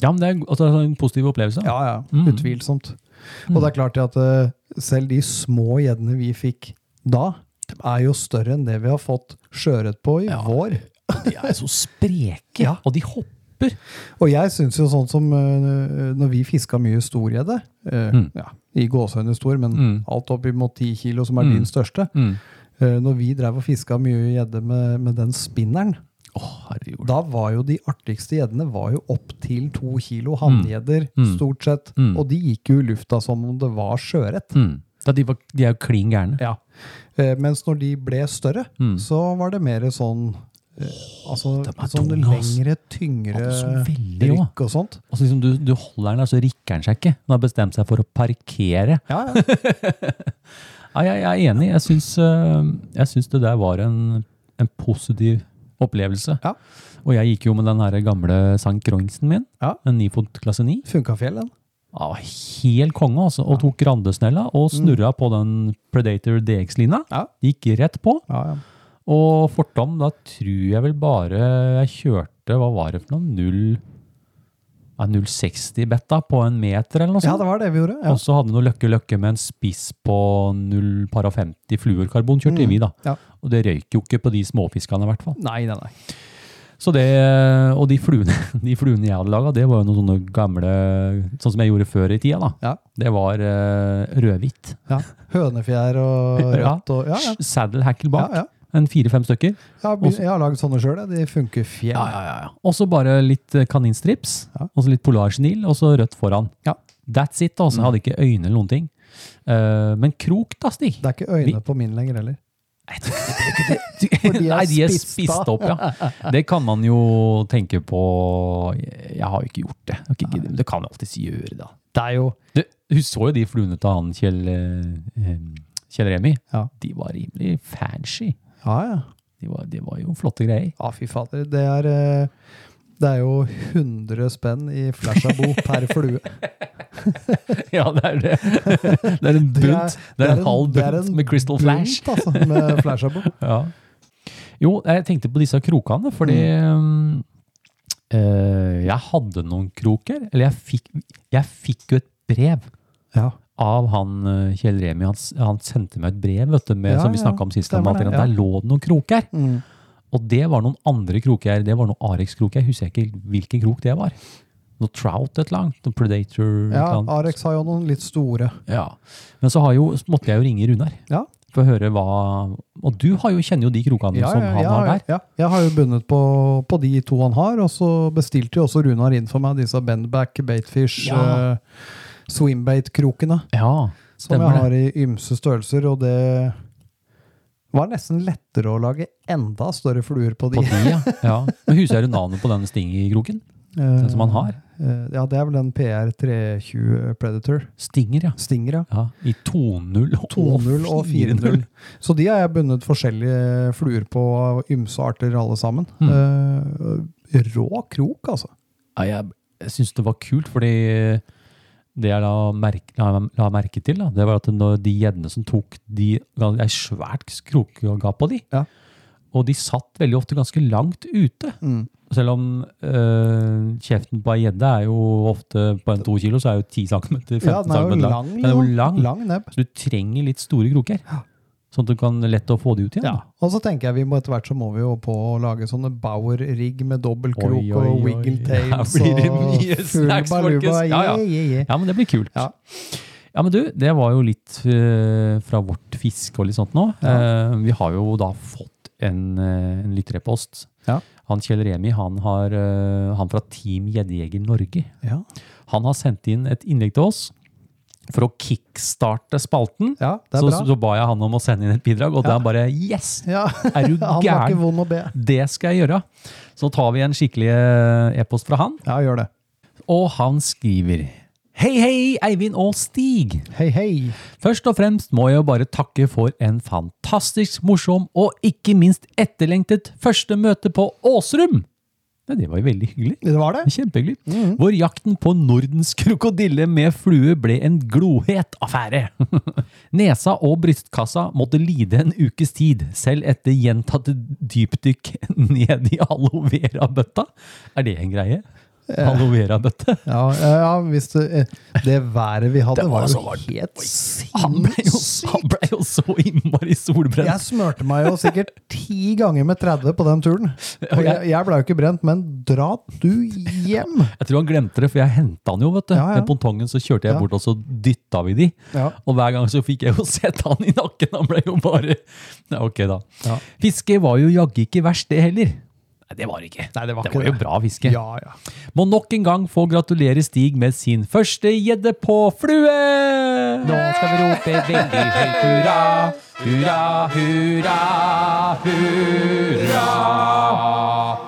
S2: Ja, men det er en- altså, en positiv opplevelse.
S6: Ja, ja,
S2: Mm.
S6: utvilsomt. Og det er klart det at eh, selv de små gjeddene vi fikk da, er jo større enn det vi har fått sjøørret på i
S2: Ja.
S6: vår.
S2: De er så spreke,
S6: Ja.
S2: og de hopper.
S6: Og jeg syns jo sånn som eh, når vi fiska mye storgjedde, eh,
S2: Mm.
S6: ja, i gåsehøyne stor, men
S2: Mm.
S6: alt opp mot 10 kilo, som er
S2: Mm.
S6: din største,
S2: Mm.
S6: eh, når vi drev og fiska mye gjedde med, med den spinneren,
S2: Å, herregud.
S6: Da var jo de artigste gjeddene var jo opp til to kilo hanngjedder,
S2: Mm.
S6: stort sett.
S2: Mm.
S6: Og de gikk jo i lufta som om det var sjøørret.
S2: Mm. Da de, var, de er jo klin gærne.
S6: Ja. Eh, mens når de ble større,
S2: Mm.
S6: så var det mer sånn eh, Altså
S2: de er
S6: sånn
S2: tunge, ass.
S6: lengre, tyngre
S2: Ja, så veldig, ja.
S6: rykk og sånt.
S2: Altså, liksom, du, du holder den der, så rikker den seg ikke. Den har bestemt seg for å parkere.
S6: Ja, ja.
S2: Ja, jeg, jeg er enig. Jeg syns, øh, jeg syns det der var en, en positiv opplevelse.
S6: Ja.
S2: Og jeg gikk jo med den her gamle Sankt Groingsen min,
S6: Ja.
S2: en 9 fot klasse 9.
S6: Funka fjell, den.
S2: Ja, helt konge, altså. Og tok randesnella og snurra på den Predator DX-lina.
S6: Mm. Ja.
S2: Gikk rett på.
S6: Ja, ja.
S2: Og fortom, da tror jeg vel bare jeg kjørte Hva var det for noe? Null- ja, 060 betta på en meter, eller noe
S6: ja,
S2: sånt.
S6: det var det vi gjorde. Ja.
S2: Og så hadde noe løkke-løkke med en spiss på 0 para 50 fluorkarbon, kjørte vi da.
S6: Mm. Ja.
S2: Og det røyk jo ikke på de småfiskene i hvert fall.
S6: Nei, nei, nei.
S2: Så det, og de fluene, de fluene jeg hadde laget, det var jo noen sånne gamle, sånn som jeg gjorde før i tida da.
S6: Ja.
S2: Det var eh, rødhvitt.
S6: Ja. Hønefjær og rødt og Ja, ja.
S2: Saddle hackle bak.
S6: Ja, ja.
S2: En fire-fem stykker.
S6: Jeg har, begynt- jeg har lagd sånne sjøl, de funker fjell.
S2: Og så bare litt eh, kaninstrips,
S6: Ja.
S2: og så litt polarsnil, og så rødt foran.
S6: Ja.
S2: That's it, altså. Jeg hadde ikke øyne eller noen ting. Eh, men krok da, Stig.
S6: Det er ikke øyne på min lenger heller. de er
S2: Nei, de er
S6: spist
S2: spist
S6: da.
S2: opp, ja. Det kan man jo tenke på Jeg har jo ikke gjort det. Jeg har ikke giddet, men det kan jeg alltids gjøre, da.
S6: Det er jo
S2: Du, hun så jo de fluene til han Kjell, eh, eh, Kjell Remi.
S6: Ja.
S2: De var rimelig fancy.
S6: Ja, ja.
S2: De var, de var jo flotte greier.
S6: Ja, fy fader. Det er, eh, det er jo 100 spenn i flashaboo per flue.
S2: Ja, det er det. Det er en bunt. Det er en halv
S6: det er
S2: bunt
S6: en
S2: med Crystal Flash.
S6: Bunt, altså, med flashaboo.
S2: Ja. Jo, jeg tenkte på disse krokene, fordi
S6: Mm.
S2: um, eh, jeg hadde noen kroker. Eller jeg fikk, jeg fikk jo et brev
S6: Ja.
S2: av han eh, Kjell Remi. Han, s- han sendte meg et brev vet du, med,
S6: Ja,
S2: som vi
S6: ja,
S2: snakka om sist.
S6: stemmer
S2: om at
S6: det,
S2: Der
S6: ja.
S2: lå det noen kroker.
S6: Mm.
S2: Og det var noen andre kroker. Det var noen Arex-kroker. Jeg husker ikke hvilken krok det var. Noe Trout et eller annet. Noe Predator. et
S6: ja,
S2: eller annet.
S6: Arex har jo noen litt store.
S2: ja. Men så, har jo, så måtte jeg jo ringe Runar
S6: Ja.
S2: for å høre hva Og du har jo, kjenner jo de krokene
S6: Ja,
S2: som
S6: ja,
S2: han
S6: ja,
S2: har der.
S6: ja. Jeg har jo bundet på, på de to han har, og så bestilte jo også Runar inn for meg disse bendback, baitfish,
S2: Ja.
S6: eh, swimbait-krokene.
S2: Ja,
S6: Som
S2: stemmer
S6: jeg
S2: det.
S6: har i ymse størrelser, og det var nesten lettere å lage enda større fluer på de.
S2: På de, ja. ja. Men husker du navnet på den stingekroken?
S6: Eh,
S2: Den som han har.
S6: eh, ja, det er vel den PR320 Predator.
S2: Stinger, ja.
S6: Stinger, ja.
S2: ja I 2.0
S6: 2.0 og 4.0.
S2: 4.0.
S6: Så de har jeg bundet forskjellige fluer på av ymse arter, alle sammen.
S2: Mm.
S6: Eh, rå krok, altså.
S2: Ja, jeg jeg syns det var kult, fordi det jeg la merke, la, la merke til, da, det var at når de gjeddene som tok de Det er svært skrokegap på de.
S6: Ja.
S2: Og de satt veldig ofte ganske langt ute.
S6: Mm.
S2: Selv om øh, kjeften på ei gjedde er jo ofte på en to kilo, så er jo 10 cm 15
S6: Ja, den er jo
S2: cm lang.
S6: lang.
S2: Den er jo lang.
S6: lang nebb.
S2: Så du trenger litt store kroker. Sånn at du kan lett å få de ut igjen. da.
S6: Og så tenker jeg vi må etter hvert så må vi jo på å lage sånne Bauer-rigg med dobbeltkrok
S2: Oi, oi,
S6: og
S2: oi.
S6: wiggle tails
S2: Her blir det
S6: og
S2: mye
S6: full
S2: snacks,
S6: baluba.
S2: folkens. Ja, ja.
S6: Yeah, yeah, yeah.
S2: Ja, men det blir kult.
S6: Ja.
S2: Ja, men du, det var jo litt eh, fra vårt fiske og litt sånt nå. Eh, vi har jo da fått en, eh, en lytterepost.
S6: Ja.
S2: Han Kjell Remi, han, har, eh, han fra Team Gjeddejeger Norge,
S6: Ja.
S2: han har sendt inn et innlegg til oss for å kickstarte spalten.
S6: ja, det er
S2: Så,
S6: bra.
S2: så ba jeg han om å sende inn et bidrag, og da bare yes!
S6: ja.
S2: Er du
S6: Han var ikke
S2: gæren?
S6: vond å be.
S2: Det skal jeg gjøre. Så tar vi en skikkelig eh, e-post fra han,
S6: Ja, gjør det.
S2: og han skriver Hei, hei, Eivind og Stig!
S6: Hei, hei.
S2: Først og fremst må jeg jo bare takke for en fantastisk morsom og ikke minst etterlengtet første møte på Åsrum. Ja, det var jo veldig hyggelig.
S6: Det var det?
S2: Kjempehyggelig. Hvor jakten på Nordens krokodille med flue ble en glohet affære. Nesa og brystkassa måtte lide en ukes tid, selv etter gjentatte dypdykk ned i aloe vera-bøtta. Er det en greie? Aloe vera-bøtte?
S6: Ja, ja, ja hvis det, eh, det været vi hadde,
S2: Det var
S6: var
S2: så
S6: jo
S2: varmt.
S6: helt
S2: Altså, Han ble jo, han
S6: sinnssykt.
S2: ble jo så innmari solbrent.
S6: Jeg smørte meg jo sikkert ti ganger med 30 på den turen. Og jeg, jeg ble jo ikke brent, men dra du hjem!
S2: Jeg tror han glemte det, for jeg henta han jo, vet du.
S6: Ja, ja.
S2: Med pontongen så kjørte jeg
S6: Ja.
S2: bort, og så dytta vi de.
S6: Ja.
S2: Og hver gang så fikk jeg jo sett han i nakken. Han ble jo bare Ja, ok, da.
S6: Ja.
S2: Fiske var jo jaggu ikke verst, det heller. Nei, det var det ikke.
S6: Nei, det var
S2: det
S6: ikke
S2: var jo
S6: det.
S2: bra fiske.
S6: Ja, ja.
S2: Må nok en gang få gratulere Stig med sin første gjedde på flue! Nå skal vi rope veldig høyt hurra, hurra, hurra, hurra.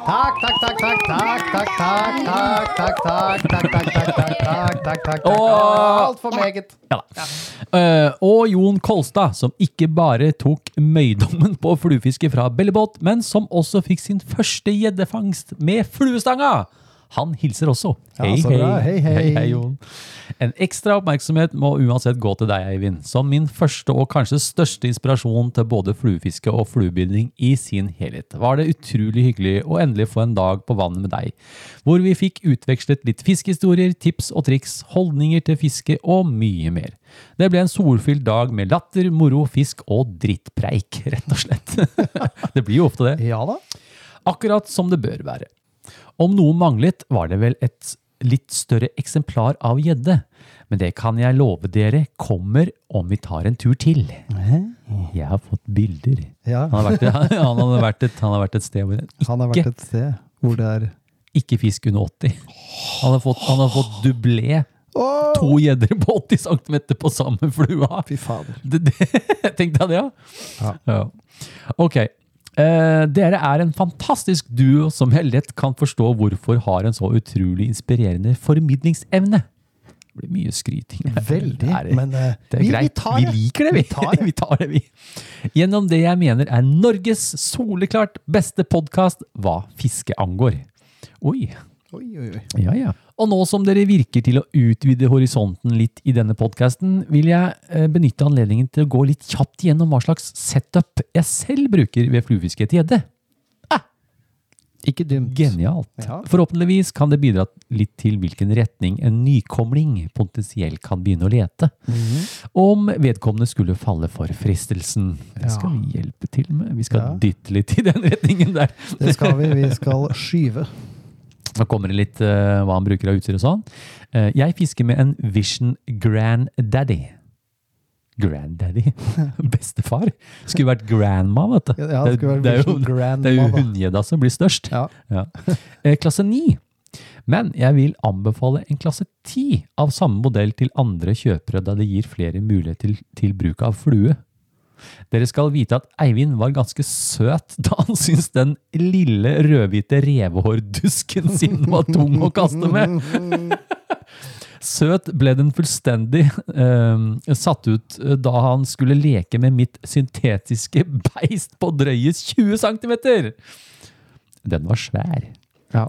S6: Takk, takk, takk, takk, takk, takk, takk, takk, takk, takk, takk, takk, takk, takk, takk, takk, takk, takk, alt for meget.
S2: Ja da. Eh, og Jon Kolstad, som ikke bare tok møydommen på fluefiske fra bellebåt, men som også fikk sin første gjeddefangst med fluestanga. Han hilser også.
S6: Ja, så bra. Hei, hei.
S2: hei, hei Jon. En ekstra oppmerksomhet må uansett gå til deg, Eivind, som min første og kanskje største inspirasjon til både fluefiske og fluebinding i sin helhet. Var det utrolig hyggelig å endelig få en dag på vannet med deg, hvor vi fikk utvekslet litt fiskehistorier, tips og triks, holdninger til fiske og mye mer. Det ble en solfylt dag med latter, moro, fisk og drittpreik, rett og slett. det blir jo ofte det
S6: Ja da.
S2: akkurat som det bør være. Om noe manglet, var det vel et litt større eksemplar av gjedde, men det kan jeg love dere kommer om vi tar en tur til. Jeg har fått bilder.
S6: Ja,
S2: Han har vært, han hadde vært, et, han har vært et sted hvor det
S6: han har vært et sted hvor det er...
S2: ikke fisk under 80. Han har fått, han har fått dublé.
S6: Åh,
S2: To gjedder på 80 cm på samme flua.
S6: fy fader.
S2: Det, det, tenkte jeg det, ja. ja. Ok. Eh, dere er en fantastisk duo som jeg lett kan forstå hvorfor har en så utrolig inspirerende formidlingsevne. Det blir mye skryting. her.
S6: Veldig,
S2: Det er-
S6: men eh,
S2: det er
S6: vi, vi
S2: greit.
S6: tar
S2: Vi,
S6: det.
S2: liker det, vi.
S6: Vi tar det.
S2: vi tar det, vi. Gjennom det jeg mener er Norges soleklart beste podkast hva fiske angår. Oi.
S6: Oi, oi, oi.
S2: Ja, ja. Og nå som dere virker til å utvide horisonten litt i denne podkasten, vil jeg eh, benytte anledningen til å gå litt kjapt gjennom hva slags setup jeg selv bruker ved fluefiske etter gjedde.
S6: Ikke dumt.
S2: Genialt.
S6: Ja.
S2: Forhåpentligvis kan det bidra litt til hvilken retning en nykomling potensielt kan begynne å lete. Om vedkommende skulle falle for fristelsen. Det skal
S6: Ja.
S2: vi hjelpe til med. Vi skal
S6: Ja.
S2: dytte litt i den retningen der.
S6: Det skal vi, vi skal skyve.
S2: Da kommer det litt eh, hva han bruker av utstyr og sånn. Eh, jeg fisker med en Vision Grand Daddy. Granddaddy? Bestefar? Skulle vært grandma, vet du.
S6: Ja, det skulle være
S2: det er jo,
S6: Vision Grandma,
S2: det er jo
S6: da.
S2: hundgjedda som blir størst.
S6: Ja.
S2: Ja. Eh, Klasse 9. Men jeg vil anbefale en klasse 10 av samme modell til andre kjøpere, da det gir flere muligheter til, til bruk av flue. Dere skal vite at Eivind var ganske søt da han syntes den lille rødhvite revehårdusken sin var tung å kaste med. Søt ble den fullstendig eh, satt ut da han skulle leke med mitt syntetiske beist på drøye 20 cm. Den var svær.
S6: Ja.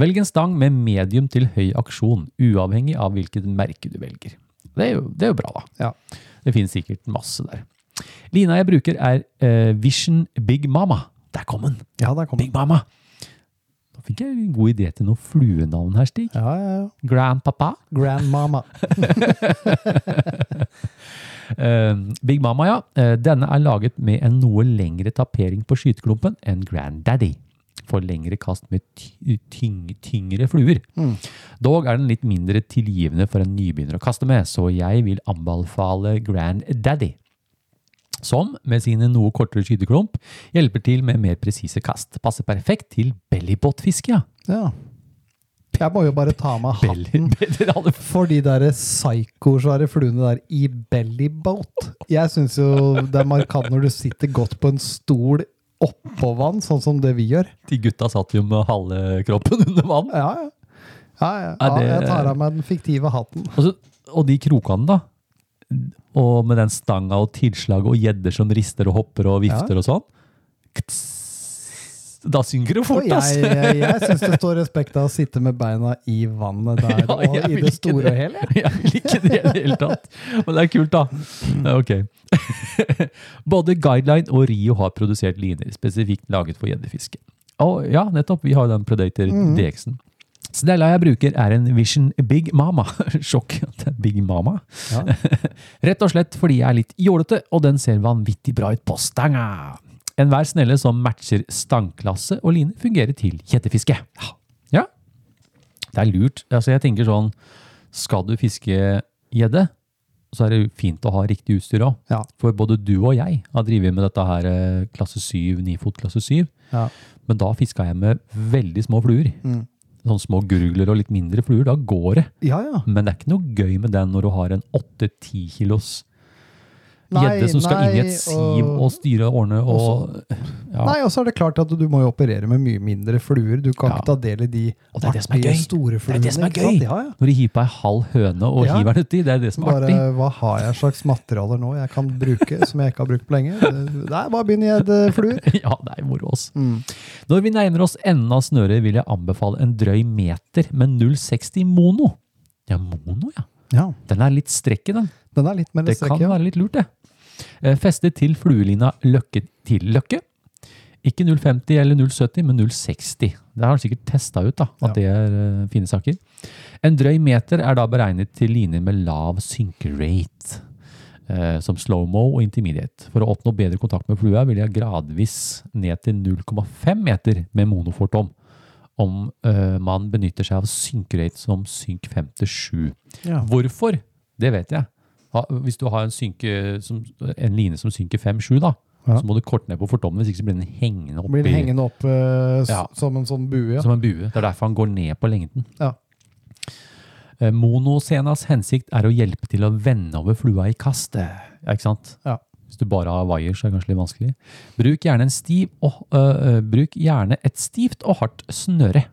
S2: Velg en stang med medium til høy aksjon, uavhengig av hvilket merke du velger. Det er jo, det er jo bra, da.
S6: Ja.
S2: Det finnes sikkert masse der. Lina jeg bruker, er eh, Vision Big Mama. Der kom den!
S6: Ja, der kom den.
S2: Big Mama! Nå fikk jeg en god idé til noe fluenavn her, Stig.
S6: Ja, ja, ja.
S2: Grandpapa.
S6: Grandmama.
S2: Eh, Big Mama, ja. Eh, denne er laget med en noe lengre tapering på skyteklumpen enn Granddaddy. For lengre kast med ty tyng tyngre fluer. Dog er den litt mindre tilgivende for en nybegynner å kaste med, så jeg vil anbefale Granddaddy. Som, med sine noe kortere skyteklump, hjelper til med mer presise kast. Passer perfekt til bellybåtfiske, ja.
S6: Ja. Jeg må jo bare ta av meg
S2: Belly,
S6: hatten
S2: dere hadde
S6: for de der psykosvære fluene der i bellyboat. Jeg syns jo det er markant når du sitter godt på en stol oppå vann, sånn som det vi gjør.
S2: De gutta satt jo med halve kroppen under vann.
S6: Ja, ja. Ja, ja.
S2: Ja,
S6: ja,
S2: det-
S6: jeg tar av meg den fiktive hatten.
S2: Og, så, og de krokene, da. Og med den stanga og tilslaget og gjedder som rister og hopper og vifter og sånn. Kts. Da synker det
S6: Og
S2: fort, ass!
S6: jeg jeg, jeg syns det står respekt av å sitte med beina i vannet der
S2: Ja,
S6: og
S2: jeg
S6: i
S2: vil
S6: det
S2: ikke
S6: store
S2: det.
S6: og hele.
S2: Jeg vil ikke det i det hele tatt. Men det er kult, da. Ok. Både Guideline og Rio har produsert liner spesifikt laget for gjeddefiske. Og ja, nettopp. Vi har jo den Predator DX-en. Snella jeg bruker, er en Vision Big Mama. Sjokk at det er Big Mama.
S6: Ja.
S2: Rett og slett fordi jeg er litt jålete, og den ser vanvittig bra ut på stanga. Enhver snelle som matcher stangklasse og line, fungerer til gjeddefiske. Ja. Det er lurt. Altså, jeg tenker sånn Skal du fiske gjedde, så er det jo fint å ha riktig utstyr òg.
S6: Ja.
S2: For både du og jeg har drevet med dette her eh, klasse 7, 9-fot klasse 7.
S6: Ja. Mm.
S2: Men da fiska jeg med veldig små fluer. Sånn små gurgler og litt mindre fluer. Da går det.
S6: ja, ja.
S2: Men det er ikke noe gøy med den når du har en 8-10 kilos
S6: Nei,
S2: gjedde som skal inn i
S6: nei,
S2: et siv og,
S6: og-
S2: styre og ordne og Ja.
S6: Nei, og så er det klart at du må jo operere med mye mindre fluer. Du kan
S2: Ja.
S6: ikke ta del i de
S2: Og det er det som er gøy.
S6: store
S2: Det er
S6: fluene.
S2: det som er
S6: ikke sant?
S2: gøy!
S6: Ja, ja.
S2: Når de hiver på ei halv høne og
S6: Ja.
S2: hiver den uti, det er det som er
S6: Bare,
S2: artig.
S6: hva har jeg slags materialer nå jeg kan bruke, som jeg ikke har brukt på lenge? Det- Nei, bare begynn i et eh, fluer.
S2: Ja, det er moro, ass.
S6: Mm.
S2: Når vi nærmer oss enden av snøret, vil jeg anbefale en drøy meter med 0,60 mono. Ja, mono, ja.
S6: Ja,
S2: Den er litt strekk i den.
S6: den er litt mer
S2: Det kan
S6: strekk, ja.
S2: være litt lurt, det. Eh, Feste til fluelina løkke til løkke. Ikke 0,50 eller 0,70, men 0,60. Det har han sikkert testa ut, da, at det er eh, fine saker. En drøy meter er da beregnet til liner med lav synkerate, eh, som slow-mo og intermediate. For å oppnå bedre kontakt med flua vil jeg gradvis ned til 0,5 meter med monofortom, om eh, man benytter seg av synkerate som synk 5 til 7.
S6: Ja.
S2: Hvorfor? Det vet jeg. Ha, hvis du har en, synke, som, en line som synker 5-7, da,
S6: Ja.
S2: så må du korte ned på fortommen, hvis ikke så blir den hengende
S6: Blir
S2: oppi
S6: den hengende opp eh, s-
S2: Ja.
S6: som en sånn bue. Ja.
S2: som en bue. Det er derfor han går ned på lengden.
S6: Ja.
S2: Eh, Monosenas hensikt er å hjelpe til å vende over flua i kastet. Ja, ikke sant?
S6: Ja.
S2: Hvis du bare har wire, så er det kanskje litt vanskelig. Bruk gjerne, en stiv og, øh, øh, bruk gjerne et stivt og hardt snøre.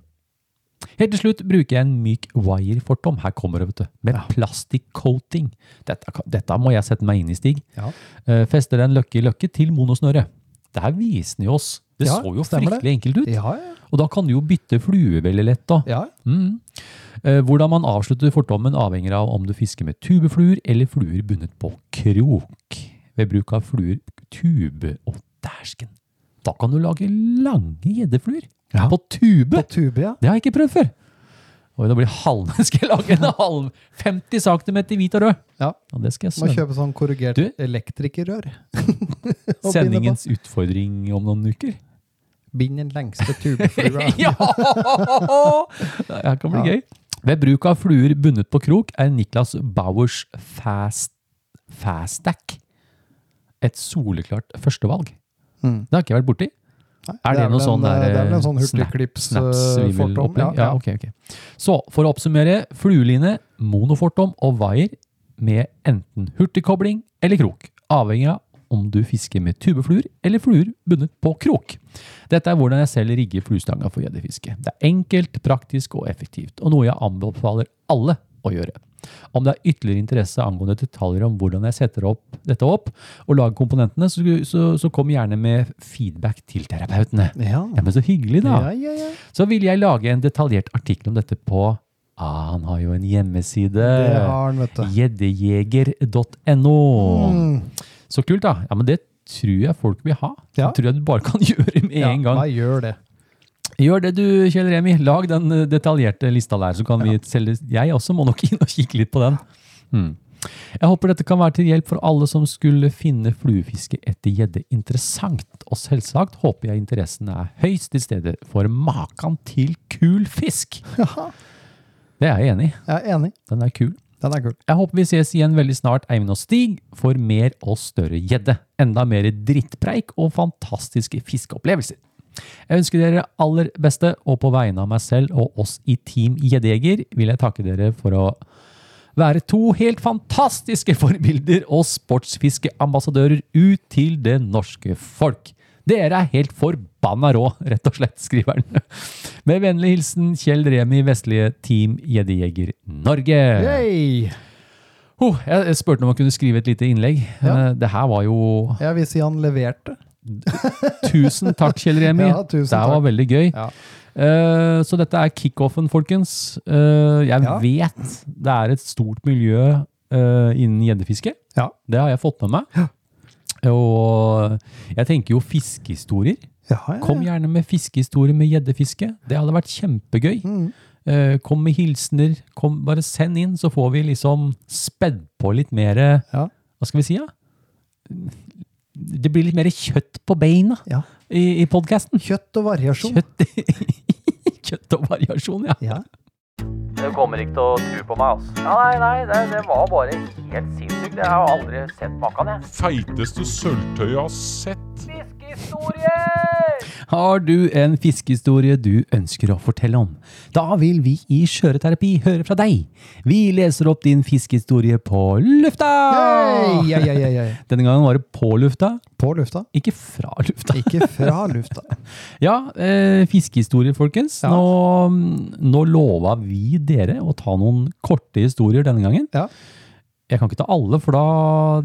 S2: Helt til slutt bruker jeg en myk wirefortom. Her kommer det, vet du. Med plastikkcoating. Dette, kan- dette må jeg sette meg inn i, Stig.
S6: Ja.
S2: Eh, fester en løkke i løkke til monosnøret. Det her viser den jo oss. Det
S6: Ja,
S2: så jo
S6: stemmer det.
S2: fryktelig enkelt ut.
S6: Ja, ja.
S2: Og da kan du jo bytte flue veldig lett. da.
S6: ja.
S2: Mm. Eh, Hvordan man avslutter fortommen avhenger av om du fisker med tubefluer eller fluer bundet på krok. Ved bruk av fluer tube og dæsken. Da kan du lage lange gjeddefluer
S6: Ja.
S2: på tube.
S6: På tube, ja.
S2: Det har jeg ikke prøvd før. Oi, da blir halv, skal jeg lage en halv 50 cm hvit og rød.
S6: ja.
S2: Ja, det skal jeg
S6: Må
S2: sende.
S6: kjøpe sånn korrigert
S2: Du?
S6: elektrikerrør. Og binde på.
S2: Sendingens utfordring om noen uker.
S6: Bind den lengste tubeflua.
S2: Ja! Det her kan bli gøy. Ved bruk av fluer bundet på krok er Niklas Bauers fast, Fastack et soleklart førstevalg.
S6: Mm.
S2: Det har ikke jeg vært borti.
S6: Nei,
S2: Er det,
S6: vel
S2: noe sånn
S6: en, eh,
S2: der
S6: Det er vel en sånn eh,
S2: snap-
S6: hurtigklips-fortom.
S2: snapsvimmel-opplegg? Ja, ok, ok. Så for å oppsummere, flueline, monofortom og wire med enten hurtigkobling eller krok, avhengig av om du fisker med tubefluer eller fluer bundet på krok. Dette er hvordan jeg selv rigger fluestanga for gjeddefiske. Det er enkelt, praktisk og effektivt, og noe jeg anbefaler alle å gjøre. Om det er ytterligere interesse angående detaljer om hvordan jeg setter opp dette opp, og lager komponentene, så, så, så kom gjerne med feedback til terapeutene.
S6: Ja.
S2: Ja, men så hyggelig, da.
S6: Ja, ja, ja.
S2: Så vil jeg lage en detaljert artikkel om dette på ah, Han har jo en hjemmeside.
S6: Det har han, vet du.
S2: Gjeddejeger.no.
S6: Mm.
S2: Så kult, da. Ja, men det tror jeg folk vil ha.
S6: Ja.
S2: Det tror jeg du bare kan gjøre med
S6: Ja,
S2: en gang.
S6: Nei, gjør det.
S2: Gjør det du, Kjell Remi. Lag den eh, detaljerte lista der, så kan vi selge Jeg også må nok inn og kikke litt på den. Hmm. Jeg håper dette kan være til hjelp for alle som skulle finne fluefiske etter gjedde interessant. Og selvsagt håper jeg interessen er høyst til stede for makan til kul fisk! Det er jeg enig i.
S6: Jeg er enig.
S2: Den er kul.
S6: Den er kul.
S2: Jeg håper vi ses igjen veldig snart, Eivind og Stig, for mer og større gjedde. Enda mer drittpreik og fantastiske fiskeopplevelser. Jeg ønsker dere aller beste, og på vegne av meg selv og oss i Team Gjeddejeger vil jeg takke dere for å være to helt fantastiske forbilder og sportsfiskeambassadører ut til det norske folk. Dere er helt forbanna rå, rett og slett, skriver han. Med vennlig hilsen Kjell Remi, vestlige Team Gjeddejeger Norge.
S6: Yay!
S2: Oh, jeg jeg spurte om jeg kunne skrive et lite innlegg.
S6: Ja.
S2: Eh, Det her var jo
S6: Jeg vil si han leverte.
S2: Tusen takk, Kjell Remi.
S6: Ja, tusen
S2: det her var
S6: takk.
S2: veldig gøy.
S6: Ja.
S2: Eh, så dette er kickoffen, folkens. Eh, jeg
S6: Ja.
S2: vet det er et stort miljø eh, innen gjeddefiske.
S6: Ja.
S2: Det har jeg fått med meg. Og jeg tenker jo fiskehistorier.
S6: Ja, ja,
S2: Kom gjerne med fiskehistorier med gjeddefiske. Det hadde vært kjempegøy.
S6: Mm.
S2: Eh, kom med hilsener. Kom, bare send inn, så får vi liksom spedd på litt mer eh,
S6: Ja.
S2: Hva skal vi si, da? Det blir litt mer kjøtt på beina
S6: Ja.
S2: i, i podkasten.
S6: Kjøtt og variasjon.
S2: Kjøtt, kjøtt og variasjon, ja.
S6: Ja.
S3: Du kommer ikke til å tro på meg, altså. Ja, nei, nei, det, det var bare helt sinnssykt. Jeg har aldri sett maken, jeg.
S4: Feiteste sølvtøyet jeg har sett.
S3: Fiskehistorier!
S2: Har du en fiskehistorie du ønsker å fortelle om? Da vil vi i Skjøreterapi høre fra deg. Vi leser opp din fiskehistorie på lufta!
S6: Hei, hei, hei, hei, hei.
S2: Denne gangen var det på lufta,
S6: På lufta.
S2: ikke fra lufta.
S6: Ikke fra lufta.
S2: Ja, eh, fiskehistorier, folkens.
S6: Ja.
S2: Nå, mm, nå lova vi dere å ta noen korte historier denne gangen.
S6: Ja.
S2: Jeg kan ikke ta alle, for da,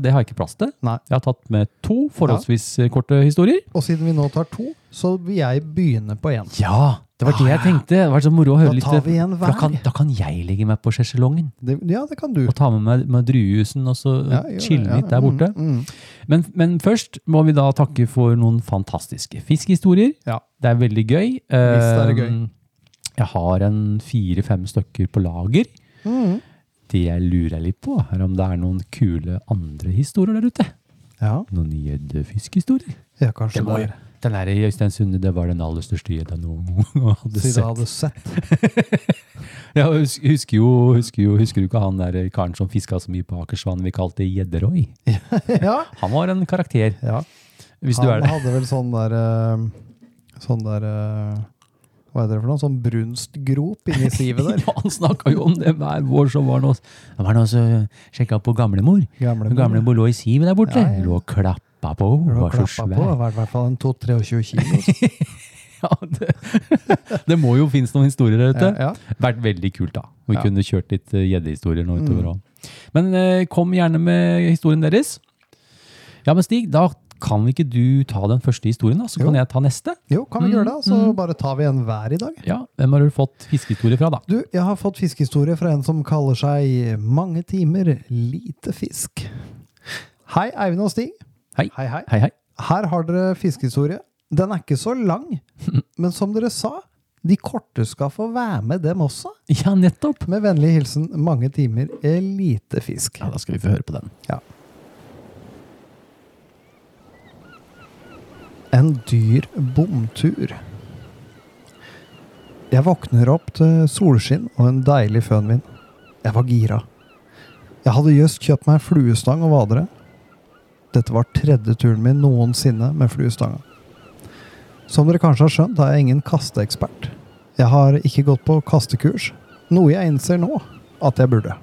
S2: det har jeg ikke plass til.
S6: Nei.
S2: Jeg har tatt med to forholdsvis eh, korte historier.
S6: Og siden vi nå tar to, så vil jeg begynne på én.
S2: Ja, det var det jeg tenkte. Det var så moro å høre
S6: Da
S2: litt. eh,
S6: tar vi en
S2: for Da kan,
S6: hver.
S2: da kan jeg legge meg på sjeselongen
S6: Det- Ja, det kan du.
S2: og ta med meg med druejusen og så
S6: Ja, gjør det.
S2: chille
S6: Ja,
S2: litt der borte.
S6: Mm, mm.
S2: Men, men først må vi da takke for noen fantastiske fiskehistorier.
S6: Ja.
S2: Det er veldig gøy.
S6: Visst er det
S2: Um, Jeg har en fire-fem stykker på lager.
S6: Mm.
S2: Det jeg lurer litt på, er om det er noen kule andre historier der ute.
S6: Ja,
S2: Noen gjeddefiskhistorier.
S6: ja, kanskje det. er-
S2: Den der i Øystein Sunde, det var den aller største gjedda noen gang hadde
S6: Siden jeg
S2: sett.
S6: hadde sett.
S2: Ja, hus- husker, jo, husker, jo, husker du ikke han der karen som fiska så mye på Akersvann vi kalte Gjedderoy?
S6: Ja.
S2: Han var en karakter,
S6: ja.
S2: hvis du
S6: Han
S2: er det.
S6: hadde vel sånn der eh, Sånn der eh, Hva heter det for noe? Sånn brunstgrop inni sivet der.
S2: Ja, han snakka jo om det hver vår, så var han også- han var han også sjekka på gamlemor.
S6: Gamlemor,
S2: Gamlemor lå i sivet der borte.
S6: Ja, ja.
S2: Lå og klappa på, hun
S6: Hvor du
S2: var
S6: har
S2: så
S6: klappa på. Det
S2: svær.
S6: var i hvert fall en 22-23 kilo.
S2: Ja, det, det må jo finnes noen historier der ute.
S6: Ja, ja.
S2: Vært veldig kult, da. Vi
S6: Ja.
S2: kunne kjørt litt eh, gjeddehistorier nå utover også. Men eh, kom gjerne med historien deres. Ja, men Stig, da kan ikke du ta den første historien, da? Så
S6: Jo.
S2: kan jeg ta neste.
S6: Jo, kan
S2: Mm,
S6: vi gjøre det? Så bare tar vi en hver i dag.
S2: Ja, Hvem har du fått fiskehistorie fra, da?
S6: Du, jeg har fått fiskehistorie fra en som kaller seg Mange timer lite fisk. Hei, Eivind og Stig.
S2: Hei.
S6: Hei, hei.
S2: Hei, hei.
S6: Her har dere fiskehistorie. Den er ikke så lang, men som dere sa, de korte skal få være med dem også.
S2: Ja, nettopp!
S6: Med vennlig hilsen Mange timer lite fisk.
S2: Ja, Da skal vi få høre på den.
S6: Ja. En dyr bomtur. Jeg våkner opp til solskinn og en deilig fønvind. Jeg var gira. Jeg hadde just kjøpt meg fluestang og vadere. Dette var tredje turen min noensinne med fluestanga. Som dere kanskje har skjønt, er jeg ingen kasteekspert. Jeg har ikke gått på kastekurs, noe jeg innser nå at jeg burde.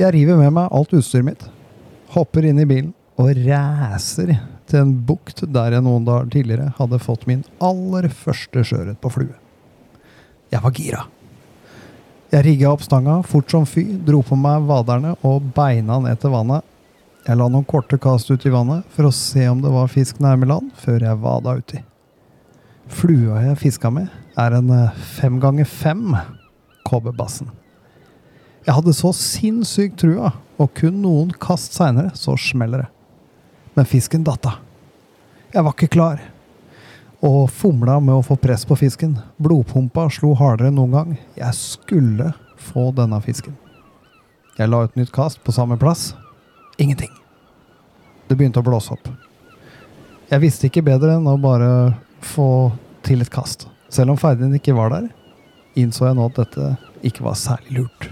S6: Jeg river med meg alt utstyret mitt, hopper inn i bilen og ræser til en bukt der jeg noen dager tidligere hadde fått min aller første sjøørret på flue. Jeg var gira. Jeg rigga opp stanga fort som fy, dro på meg vaderne og beina ned til vannet. Jeg la noen korte kast ut i vannet for å se om det var fisk nærme land, før jeg vada uti. Flua jeg fiska med, er en eh, fem ganger fem kobberbassen. Jeg hadde så sinnssykt trua, og kun noen kast seinere så smeller det. Men fisken datta. Jeg var ikke klar. Og fomla med å få press på fisken. Blodpumpa slo hardere enn noen gang. Jeg skulle få denne fisken. Jeg la ut nytt kast på samme plass. Ingenting. Det begynte å blåse opp. Jeg visste ikke bedre enn å bare få til et kast. Selv om ferden ikke var der, innså jeg nå at dette ikke var særlig lurt.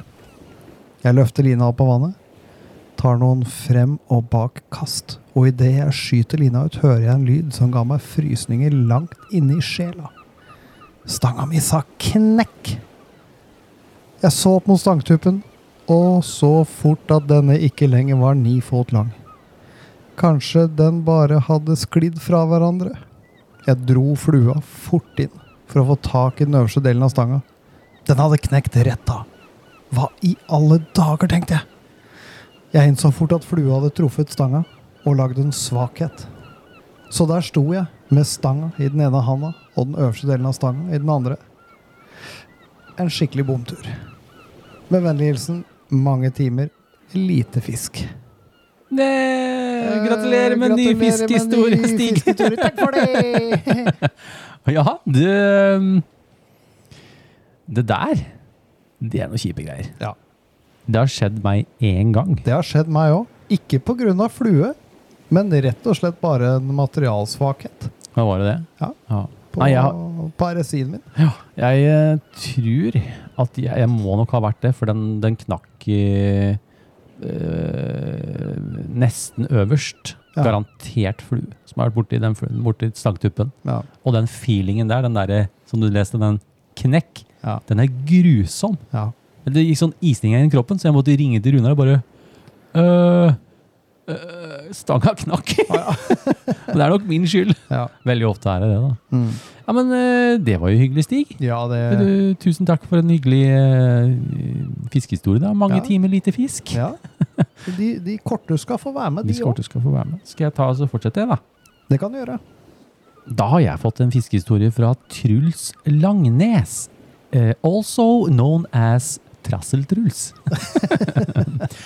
S6: Jeg løfter lina opp av vannet, tar noen frem og bak kast, og idet jeg skyter lina ut, hører jeg en lyd som ga meg frysninger langt inne i sjela. Stanga mi sa knekk! Jeg så opp mot stangtuppen, og så fort at denne ikke lenger var ni fot lang. Kanskje den bare hadde sklidd fra hverandre? Jeg dro flua fort inn for å få tak i den øverste delen av stanga. Den hadde knekt rett av. Hva i alle dager, tenkte jeg. Jeg innså fort at flua hadde truffet stanga og lagd en svakhet. Så der sto jeg med stanga i den ene handa og den øverste delen av stanga i den andre. En skikkelig bomtur. Med vennlig hilsen mange timer, lite fisk.
S2: Nei, Eh, gratulerer med ny fiskehistorie, Stig.
S6: Takk for det!
S2: Ja, det Det der, det er noen kjipe greier.
S6: Ja.
S2: Det har skjedd meg én gang.
S6: Det har skjedd meg òg. Ikke pga. flue, men rett og slett bare en materialsvakhet
S2: Hva var det det?
S6: Ja. på,
S2: Nei, jeg, har-
S6: på RSI-en min.
S2: jeg eh, tror at jeg, jeg må nok ha vært det, for den, den knakk i, eh, nesten øverst.
S6: Ja.
S2: Garantert flue som har vært borti, den fluen, borti stangtuppen.
S6: Ja.
S2: Og den feelingen der, den derre som du leste, den knekk,
S6: Ja.
S2: den er grusom.
S6: Ja.
S2: Men Det gikk sånn isning i kroppen, så jeg måtte ringe til Runar og bare øh, øh, Stanga knakk. det er nok min skyld.
S6: Ja.
S2: Veldig ofte er det det, da.
S6: Mm.
S2: Ja, Men øh, det var jo hyggelig, Stig.
S6: ja, det
S2: Du, tusen takk for en hyggelig øh, fiskehistorie. da. Mange
S6: Ja.
S2: timer lite fisk.
S6: ja. De, de korte skal få være med,
S2: Hvis
S6: de òg.
S2: kortet skal få være med. Skal jeg ta og så fortsette, jeg, da?
S6: Det kan de gjøre.
S2: Da har jeg fått en fiskehistorie fra Truls Langnes. eh, also known as Trassel-Truls.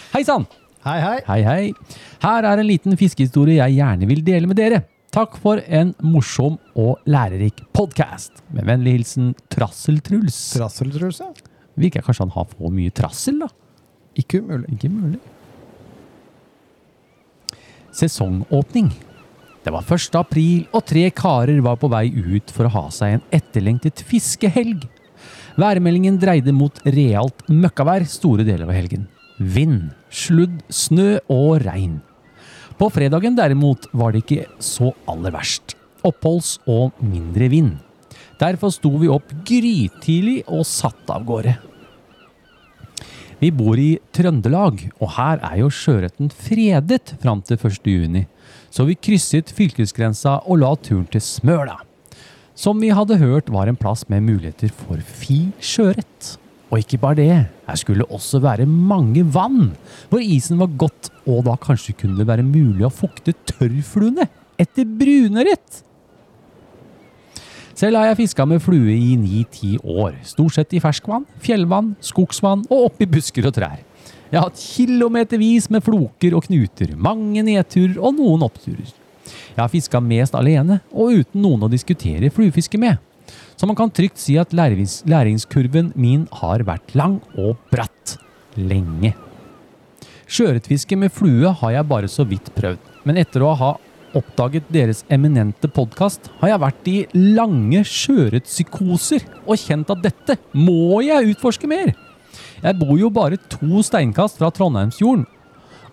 S2: Hei sann!
S6: Hei, hei.
S2: Hei, hei. Her er en liten fiskehistorie jeg gjerne vil dele med dere. Takk for en morsom og lærerik podkast. Med vennlig hilsen Trassel-Truls.
S6: Trasseltruls, ja.
S2: Virker kanskje han har for mye trassel, da?
S6: Ikke umulig.
S2: Ikke mulig. Sesongåpning. Det var 1. april, og tre karer var på vei ut for å ha seg en etterlengtet fiskehelg. Værmeldingen dreide mot realt møkkavær store deler av helgen. Vind, sludd, snø og regn. På fredagen derimot var det ikke så aller verst. Oppholds og mindre vind. Derfor sto vi opp grytidlig og satte av gårde. Vi bor i Trøndelag, og her er jo sjøørreten fredet fram til 1. juni. Så vi krysset fylkesgrensa og la turen til Smøla. Som vi hadde hørt var en plass med muligheter for fi sjøørret. Og ikke bare det, her skulle også være mange vann, hvor isen var godt, og da kanskje kunne det være mulig å fukte tørrfluene etter brunørret. Selv har jeg fiska med flue i 9-10 år. Stort sett i ferskvann, fjellvann, skogsvann og oppi busker og trær. Jeg har hatt kilometervis med floker og knuter, mange nedturer og noen oppturer. Jeg har fiska mest alene og uten noen å diskutere fluefiske med. Så man kan trygt si at lærings- læringskurven min har vært lang og bratt. Lenge. Sjøørretfiske med flue har jeg bare så vidt prøvd, men etter å ha oppdaget deres eminente podkast, har jeg vært i lange sjøørretpsykoser og kjent at dette må jeg utforske mer. Jeg bor jo bare to steinkast fra Trondheimsfjorden,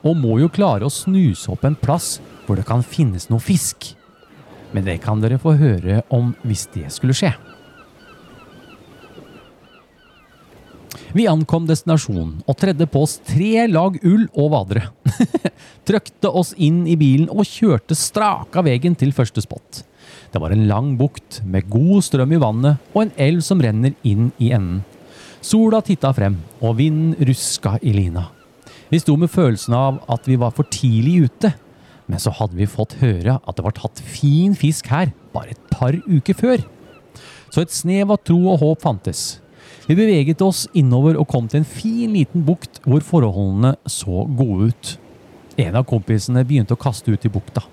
S2: og må jo klare å snuse opp en plass hvor det kan finnes noe fisk. Men det kan dere få høre om hvis det skulle skje. Vi ankom destinasjonen og tredde på oss tre lag ull og vadere. Trøkte oss inn i bilen og kjørte straka veien til første spot. Det var en lang bukt med god strøm i vannet og en elv som renner inn i enden. Sola titta frem, og vinden ruska i lina. Vi sto med følelsen av at vi var for tidlig ute, men så hadde vi fått høre at det var tatt fin fisk her bare et par uker før. Så et snev av tro og håp fantes. Vi beveget oss innover og kom til en fin liten bukt hvor forholdene så gode ut. En av kompisene begynte å kaste ut i bukta.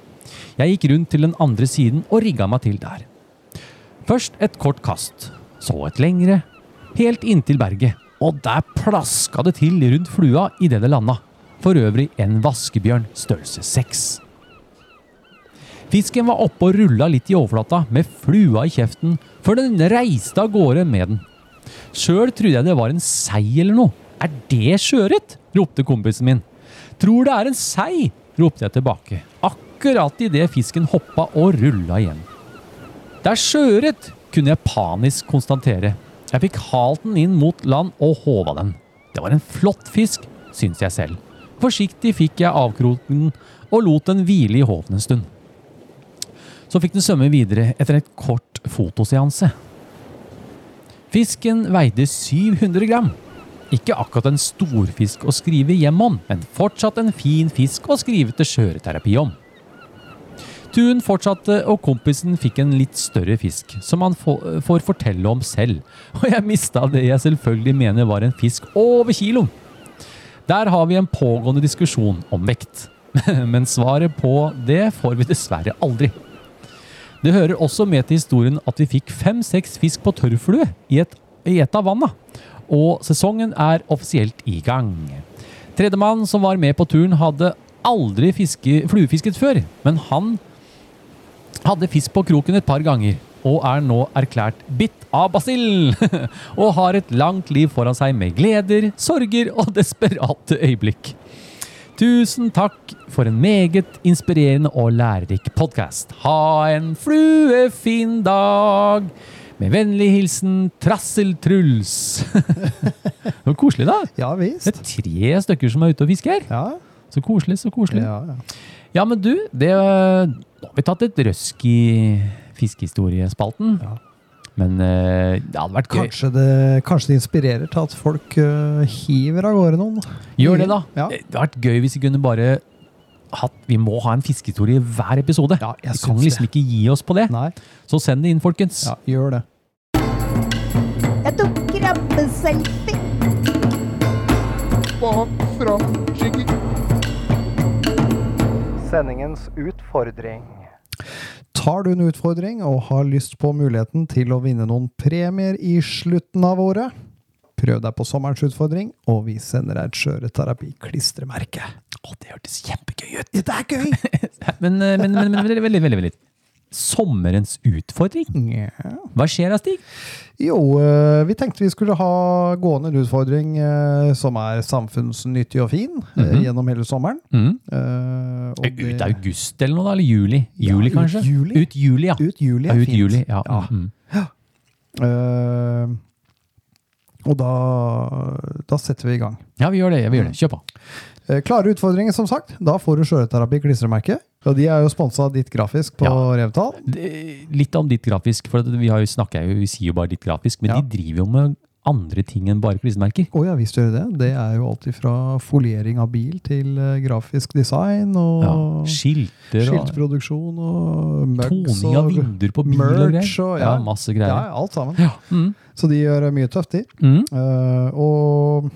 S2: Jeg gikk rundt til den andre siden og rigga meg til der. Først et kort kast, så et lengre, helt inntil berget. Og der plaska det til rundt flua idet det landa. For øvrig en vaskebjørn størrelse seks. Fisken var oppe og rulla litt i overflata med flua i kjeften, før den reiste av gårde med den. Sjøl trodde jeg det var en sei eller noe. Er det sjøørret? ropte kompisen min. Tror det er en sei, ropte jeg tilbake, akkurat idet fisken hoppa og rulla igjen. Det er sjøørret, kunne jeg panisk konstatere. Jeg fikk halt den inn mot land og håva den. Det var en flott fisk, syns jeg selv. Forsiktig fikk jeg avkroken og lot den hvile i håven en stund. Så fikk den svømme videre etter et kort fotoseanse. Fisken veide 700 gram. Ikke akkurat en storfisk å skrive hjem om, men fortsatt en fin fisk å skrive til skjøreterapi om. Tuen fortsatte, og kompisen fikk en litt større fisk, som han få- får fortelle om selv. Og jeg mista det jeg selvfølgelig mener var en fisk over kiloen. Der har vi en pågående diskusjon om vekt. Men svaret på det får vi dessverre aldri. Det hører også med til historien at vi fikk fem-seks fisk på tørrflue i et, i et av vanna. Og sesongen er offisielt i gang. Tredjemann som var med på turen, hadde aldri fiske, fluefisket før, men han hadde fisk på kroken et par ganger og er nå erklært bitt av basill. og har et langt liv foran seg med gleder, sorger og desperate øyeblikk. Tusen takk for en meget inspirerende og lærerik podkast. Ha en fluefin dag! Med vennlig hilsen Trasseltruls. det var koselig, da.
S6: Ja
S2: Det
S6: visst.
S2: er tre stykker som er ute og fisker.
S6: Ja,
S2: Så koselig, så koselig.
S6: ja, ja.
S2: Ja, men du, det, nå har vi tatt et røsk i fiskehistoriespalten.
S6: Ja.
S2: Men eh, det hadde vært gøy.
S6: Kanskje, det, kanskje det inspirerer til at folk øh, hiver av gårde noen.
S2: Gjør det, da.
S6: Ja.
S2: Det hadde vært gøy hvis vi kunne bare hatt Vi må ha en fiskehistorie i hver episode.
S6: Ja, jeg
S2: vi kan
S6: syns
S2: liksom ikke gi oss på det.
S6: Nei,
S2: Så send det inn, folkens.
S6: ja, gjør det.
S7: Jeg tok krabbeselfie.
S5: Sendingens utfordring.
S6: Tar du en utfordring og har lyst på muligheten til å vinne noen premier i slutten av året? Prøv deg på sommerens utfordring, og vi sender deg et skjøreterapi-klistremerke.
S2: Å, det hørtes kjempegøy ut!
S6: Det er gøy!
S2: Men, eh, men, men, men veldig, veldig, veldig, veldig. Sommerens utfordring?
S6: Nja.
S2: Hva skjer da, Stig?
S6: Jo, eh, vi tenkte vi skulle ha gående en utfordring eh, som er samfunnsnyttig og fin eh, gjennom hele sommeren.
S2: Mm.
S6: Eh, og
S2: Mhm. Ut august eller noe, da? Eller juli?
S6: Ja,
S2: Juli,
S6: ut
S2: kanskje?
S6: juli.
S2: Ut juli, ja.
S6: ut juli
S2: Ja,
S6: er
S2: ut
S6: fint.
S2: juli, ja.
S6: Ja.
S2: Mm.
S6: Eh, og da, da setter vi i gang.
S2: ja, vi gjør det. vi gjør det. Kjør på.
S6: Eh, Klare utfordringer, som sagt. Da får du skjøreterapi klistremerke. Og de er jo sponsa av Ditt Grafisk på
S2: Ja.
S6: Revtal.
S2: Det- Litt om ditt grafisk, for at vi, har jo snakket, jo- vi sier jo bare ditt grafisk, men
S6: Ja.
S2: de driver jo med andre ting enn bare klistremerker.
S6: Å ja, visst gjør de det. Det er jo alt fra foliering av bil til eh, grafisk design og
S2: Ja. Skilter og
S6: skiltproduksjon og mugs
S2: toning av
S6: og
S2: vinduer på biler og
S6: merch
S2: greier.
S6: og-
S2: ja.
S6: ja.
S2: masse
S6: ja,
S2: greier.
S6: ja, alt sammen.
S2: Ja. Mm.
S6: Så de gjør eh, mye tøft, de.
S2: Mm.
S6: Eh, og,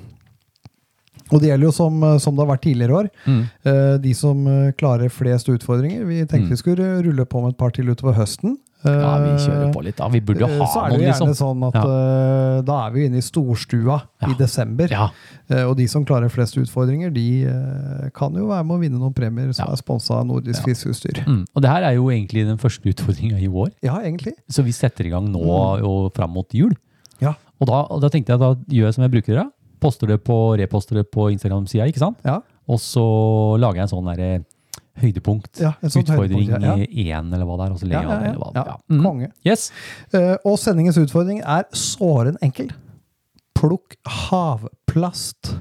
S6: og det gjelder jo som, eh, som det har vært tidligere år.
S2: Mm.
S6: Eh, de som eh, klarer flest utfordringer. Vi tenkte vi skulle rulle på med et par til utover høsten.
S2: ja, vi kjører på litt, da. Vi burde jo
S6: Eh,
S2: ha
S6: Så er det
S2: noen,
S6: jo gjerne
S2: liksom.
S6: sånn at
S2: Ja.
S6: eh, da er vi jo inne i storstua
S2: Ja.
S6: i desember.
S2: Ja.
S6: Eh, og de som klarer flest utfordringer, de eh, kan jo være med å vinne noen premier som
S2: Ja.
S6: er sponsa av Nordisk Fiskeutstyr.
S2: Mm. Og det her er jo egentlig den første utfordringa i år,
S6: Ja, egentlig.
S2: så vi setter i gang nå og fram mot jul.
S6: Mm. Ja.
S2: Og da, og da tenkte jeg da gjør jeg som jeg bruker det. da. Poster det på, reposter det på Instagram-sida, ikke sant?
S6: Ja,
S2: Og så lager jeg en sånn derre høydepunkt.
S6: ja et sånt
S2: Utfordring
S6: Sånn høydepunkt, ja. Ja.
S2: 1 eller hva det er, og så
S6: Ja,
S2: ler jeg
S6: ja,
S2: av det.
S6: ja,
S2: eller hva det
S6: ja.
S2: er. Ja. Mm.
S6: Konge.
S2: Yes.
S6: Eh, og sendingens utfordring er såren enkel. Plukk havplast.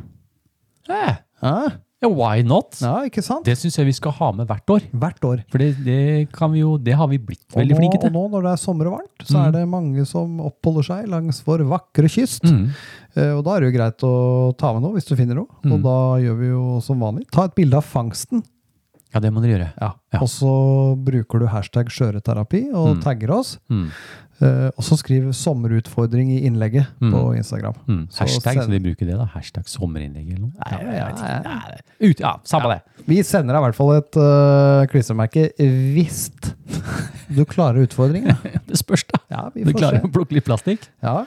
S2: Eh,
S6: Hæ?
S2: ja, why not?
S6: Ja, ikke sant?
S2: Det syns jeg vi skal ha med hvert år.
S6: Hvert år.
S2: For det, det kan vi jo Det har vi blitt
S6: Og
S2: veldig
S6: nå,
S2: flinke
S6: og
S2: til.
S6: nå når det er sommer og varmt, så
S2: Mm.
S6: er det mange som oppholder seg langs vår vakre kyst.
S2: Mm.
S6: Eh, Og da er det jo greit å ta med noe hvis du finner noe. Og
S2: Mm.
S6: da gjør vi jo som vanlig. Ta et bilde av fangsten,
S2: Ja, det må dere gjøre. Ja.
S6: og så bruker du hashtag skjøreterapi og
S2: Mm.
S6: tagger oss.
S2: Mm.
S6: Eh, Og så skriv 'sommerutfordring' i innlegget
S2: Mm.
S6: på Instagram.
S2: Mm.
S6: Så
S2: Hashtag, så
S6: send-
S2: vi bruker det. da Hashtag sommerinnlegg eller noe. Nei,
S6: ja,
S2: jeg vet
S6: ja.
S2: ikke. Nei, det- Ut, ja, samme det.
S6: Vi sender deg i hvert fall et eh, klistremerke hvis du klarer utfordringen.
S2: Det spørs, da.
S6: Ja, vi
S2: Du
S6: får
S2: klarer
S6: se.
S2: å plukke litt plastikk.
S6: Ja.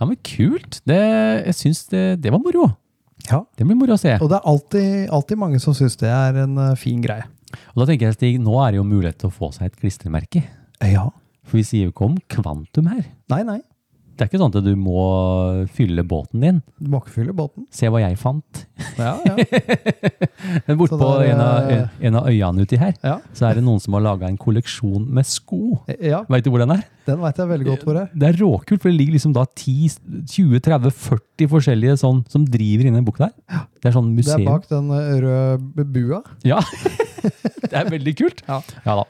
S2: Ja, men kult. Det, jeg syns det, det var moro.
S6: Ja.
S2: Det blir moro å se.
S6: Og det er alltid, alltid mange som syns det er en eh, fin greie.
S2: Og da tenker jeg, Stig, nå er det jo mulighet til å få seg et klistremerke.
S6: Ja.
S2: For vi sier jo ikke om kvantum her.
S6: Nei, nei.
S2: Det er ikke sånn at du må fylle båten din.
S6: Du må ikke fylle båten.
S2: Se hva jeg fant.
S6: Ja, ja. Så
S2: Bortpå
S6: det er,
S2: en, av-
S6: eh,
S2: en av øyene uti her,
S6: Ja,
S2: så er det noen som har laga en kolleksjon med sko.
S6: ja
S2: Veit du hvor den er?
S6: den veit jeg veldig godt hvor er.
S2: Det er råkult, for det ligger liksom da 10, 20, 30, 40 forskjellige sånn, som driver inni den boka der. Det er sånn
S6: Det
S2: museum.
S6: er bak den eh, røde bua.
S2: Ja, det er veldig kult.
S6: Ja.
S2: da.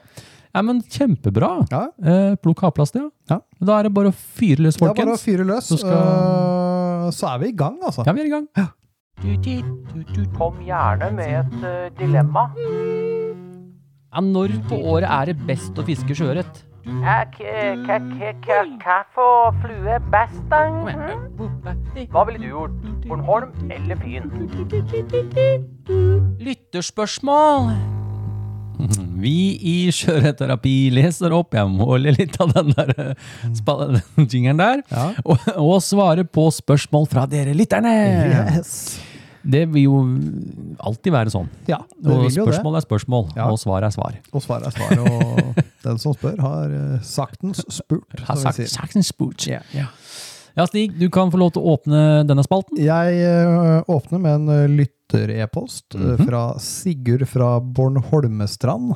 S2: Ja, men kjempebra.
S6: Ja.
S2: Eh, plukk havplast, ja.
S6: Ja.
S2: Da er det bare å fyre løs,
S6: Det er bare å
S2: folkens.
S6: fyre løs,
S2: Så
S6: så,
S2: skal-
S6: så er vi i gang, altså.
S2: Ja, vi er i gang.
S3: Kom gjerne med et eh, dilemma.
S1: Ja, når på året er det best å fiske sjøørret?
S3: Hva for flue best, da? Mhm. Hva ville du gjort? Bornholm eller Fyn?
S1: Lytterspørsmål!
S2: Vi i Sjøretterapi leser opp Jeg må le litt av den der eh, spa- den jingeren der.
S6: Mm. Ja.
S2: Og, og svarer på spørsmål fra dere lytterne!
S6: Yes.
S2: Det vil jo alltid være sånn.
S6: Ja, det
S2: Og
S6: vil jo det.
S2: spørsmål er spørsmål,
S6: Ja.
S2: og svar er svar.
S6: Og svaret er svar, og den som spør, har eh, saktens spurt.
S2: Har
S6: som vi
S2: sagt-
S6: sier.
S2: sagt en spurt. Ja, Stig, du kan få lov til å åpne denne spalten.
S6: Jeg eh, åpner med en eh, lytter-e-post eh,
S2: Mhm.
S6: fra Sigurd fra Bornholmestrand.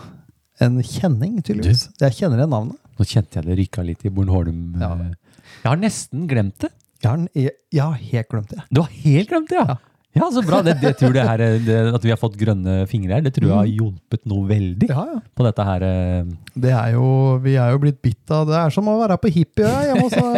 S6: En kjenning, tydeligvis. Jeg kjenner igjen navnet.
S2: Nå kjente jeg det rykka litt i Bornholm. eh.
S6: Ja.
S2: Jeg har nesten glemt det.
S6: Jeg har, den e- jeg har helt glemt det.
S2: Du har helt glemt det, ja! Ja, så bra. Det, det tror jeg her, eh, det, At vi har fått grønne fingre her, det tror jeg har hjulpet noe veldig
S6: Ja, ja.
S2: på dette her. eh,
S6: Det er jo, vi er jo blitt bitt av Det er som å være på hippieøya hjemme hos eh, oss.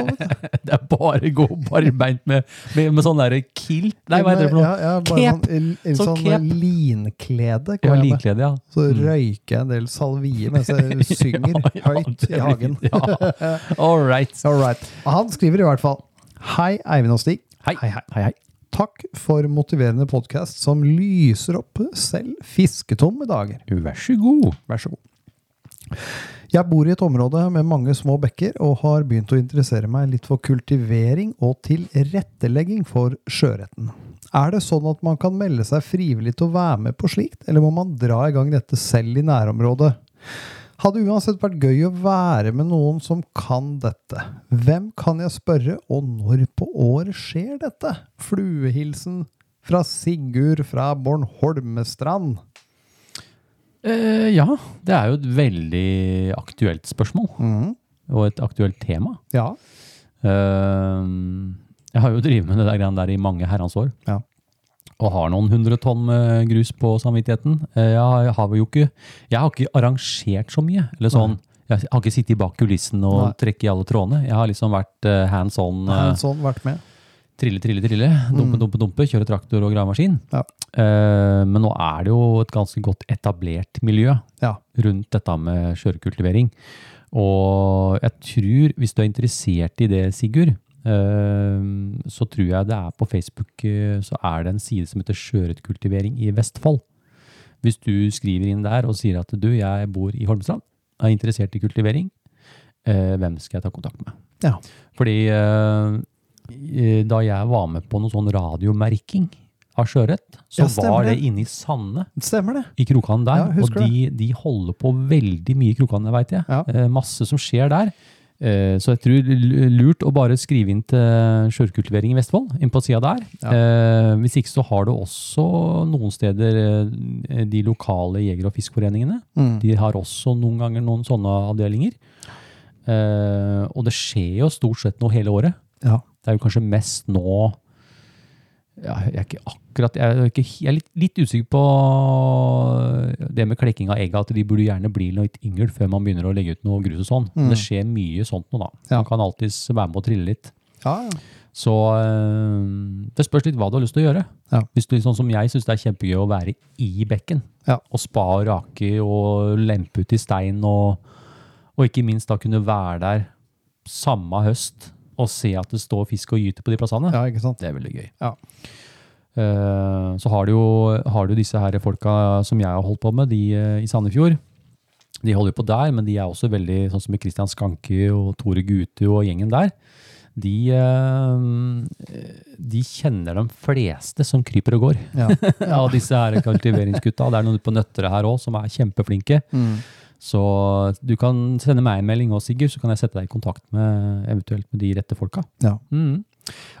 S6: nå, vet du.
S2: Det er bare gå barbeint med, med, med sånn derre kilt Nei, hva heter det for noe?
S6: Ja, ja, bare
S2: Kep.
S6: Sånn, en- en
S2: Sånn
S6: sånn
S2: kep.
S6: linklede.
S2: Ja,
S6: går jeg med.
S2: linklede, ja.
S6: Så røyker jeg en del salvie mens jeg synger
S2: Ja,
S6: høyt
S2: det
S6: i
S2: blir-
S6: hagen.
S2: Ja. All right.
S6: All right. Han skriver i hvert fall Hei, Eivind og Stig.
S2: Hei, hei, hei. hei.
S6: Takk for motiverende podkast som lyser opp selv fisketomme dager.
S2: Vær så god.
S6: Vær så god. Jeg bor i et område med mange små bekker og har begynt å interessere meg litt for kultivering og tilrettelegging for sjøretten. Er det sånn at man kan melde seg frivillig til å være med på slikt, eller må man dra i gang dette selv i nærområdet? Hadde uansett vært gøy å være med noen som kan dette. Hvem kan jeg spørre, og når på året skjer dette? Fluehilsen fra Sigurd fra Bornholmestrand.
S2: Eh, ja, det er jo et veldig aktuelt spørsmål,
S6: Mhm.
S2: og et aktuelt tema.
S6: Ja.
S2: Eh, jeg har jo drevet med det der greiene der i mange herrens år,
S6: Ja.
S2: og har noen hundre tonn eh, grus på samvittigheten. Eh, jeg, har, jeg har jo ikke, jeg har ikke arrangert så mye, eller sånn. Jeg har ikke sittet bak kulissen og
S6: Nei.
S2: trekket i alle trådene. Jeg har liksom vært eh, hands on. eh,
S6: Sånn vært med.
S2: Trille, trille, trille. Dumpe, dumpe, dumpe. Kjøre traktor og gravemaskin.
S6: Mm. Ja.
S2: Eh, men nå er det jo et ganske godt etablert miljø
S6: Ja.
S2: rundt dette med kjørekultivering. Og jeg tror, hvis du er interessert i det, Sigurd, eh, så tror jeg det er på Facebook eh, så er det en side som heter Sjøørretkultivering i Vestfold. Hvis du skriver inn der og sier at du, jeg bor i Holmestrand, er interessert i kultivering, eh, hvem skal jeg ta kontakt med?
S6: Ja.
S2: Fordi eh, eh, da jeg var med på noen sånn radiomerking av sjøørret, så
S6: Ja, stemmer
S2: var det
S6: det.
S2: inne i Sande
S6: Stemmer det.
S2: i krokene der.
S6: Ja,
S2: og
S6: husker
S2: de, de holder på veldig mye i krokene, veit jeg.
S6: Ja.
S2: Eh, masse som skjer der. Eh, så jeg tror l- lurt å bare skrive inn til Sjørkultivering i Vestfold, inn på sida der.
S6: Ja.
S2: Eh, hvis ikke så har du også noen steder eh, de lokale jeger- og fiskforeningene.
S6: Mm.
S2: De har også noen ganger noen sånne avdelinger. Eh, og det skjer jo stort sett noe hele året.
S6: Ja.
S2: Det er jo kanskje mest nå ja, Jeg er ikke akkurat Jeg er, ikke, he- jeg er litt, litt usikker på øh, det med klekking av egga, at de burde gjerne bli litt yngel før man begynner å legge ut noe grus og sånn. Men Det skjer mye sånt nå, da.
S6: Ja.
S2: Man kan alltids være med og trille litt.
S6: Ja, ja.
S2: Så eh, det spørs litt hva du har lyst til å gjøre.
S6: Ja.
S2: Hvis du sånn som jeg syns det er kjempegøy å være i bekken,
S6: Ja.
S2: og spa og rake og lempe ut i stein, og, og ikke minst da kunne være der samme høst og se at det står fisk og gyter på de plassene.
S6: ja, ikke sant?
S2: Det er veldig gøy.
S6: Ja.
S2: Eh, så har du jo har du disse her folka som jeg har holdt på med, de eh, i Sandefjord. De holder jo på der, men de er også veldig sånn som Kristian Skanke og Tore Gute og gjengen der. De, eh, de kjenner de fleste som kryper og går.
S6: Ja.
S2: Ja, og disse her kultiveringsgutta. Det er noen på Nøtterøy her òg som er kjempeflinke.
S6: Mm.
S2: Så du kan sende meg en melding òg, Sigurd, så kan jeg sette deg i kontakt med eventuelt med de rette folka.
S6: Ja.
S2: Mm.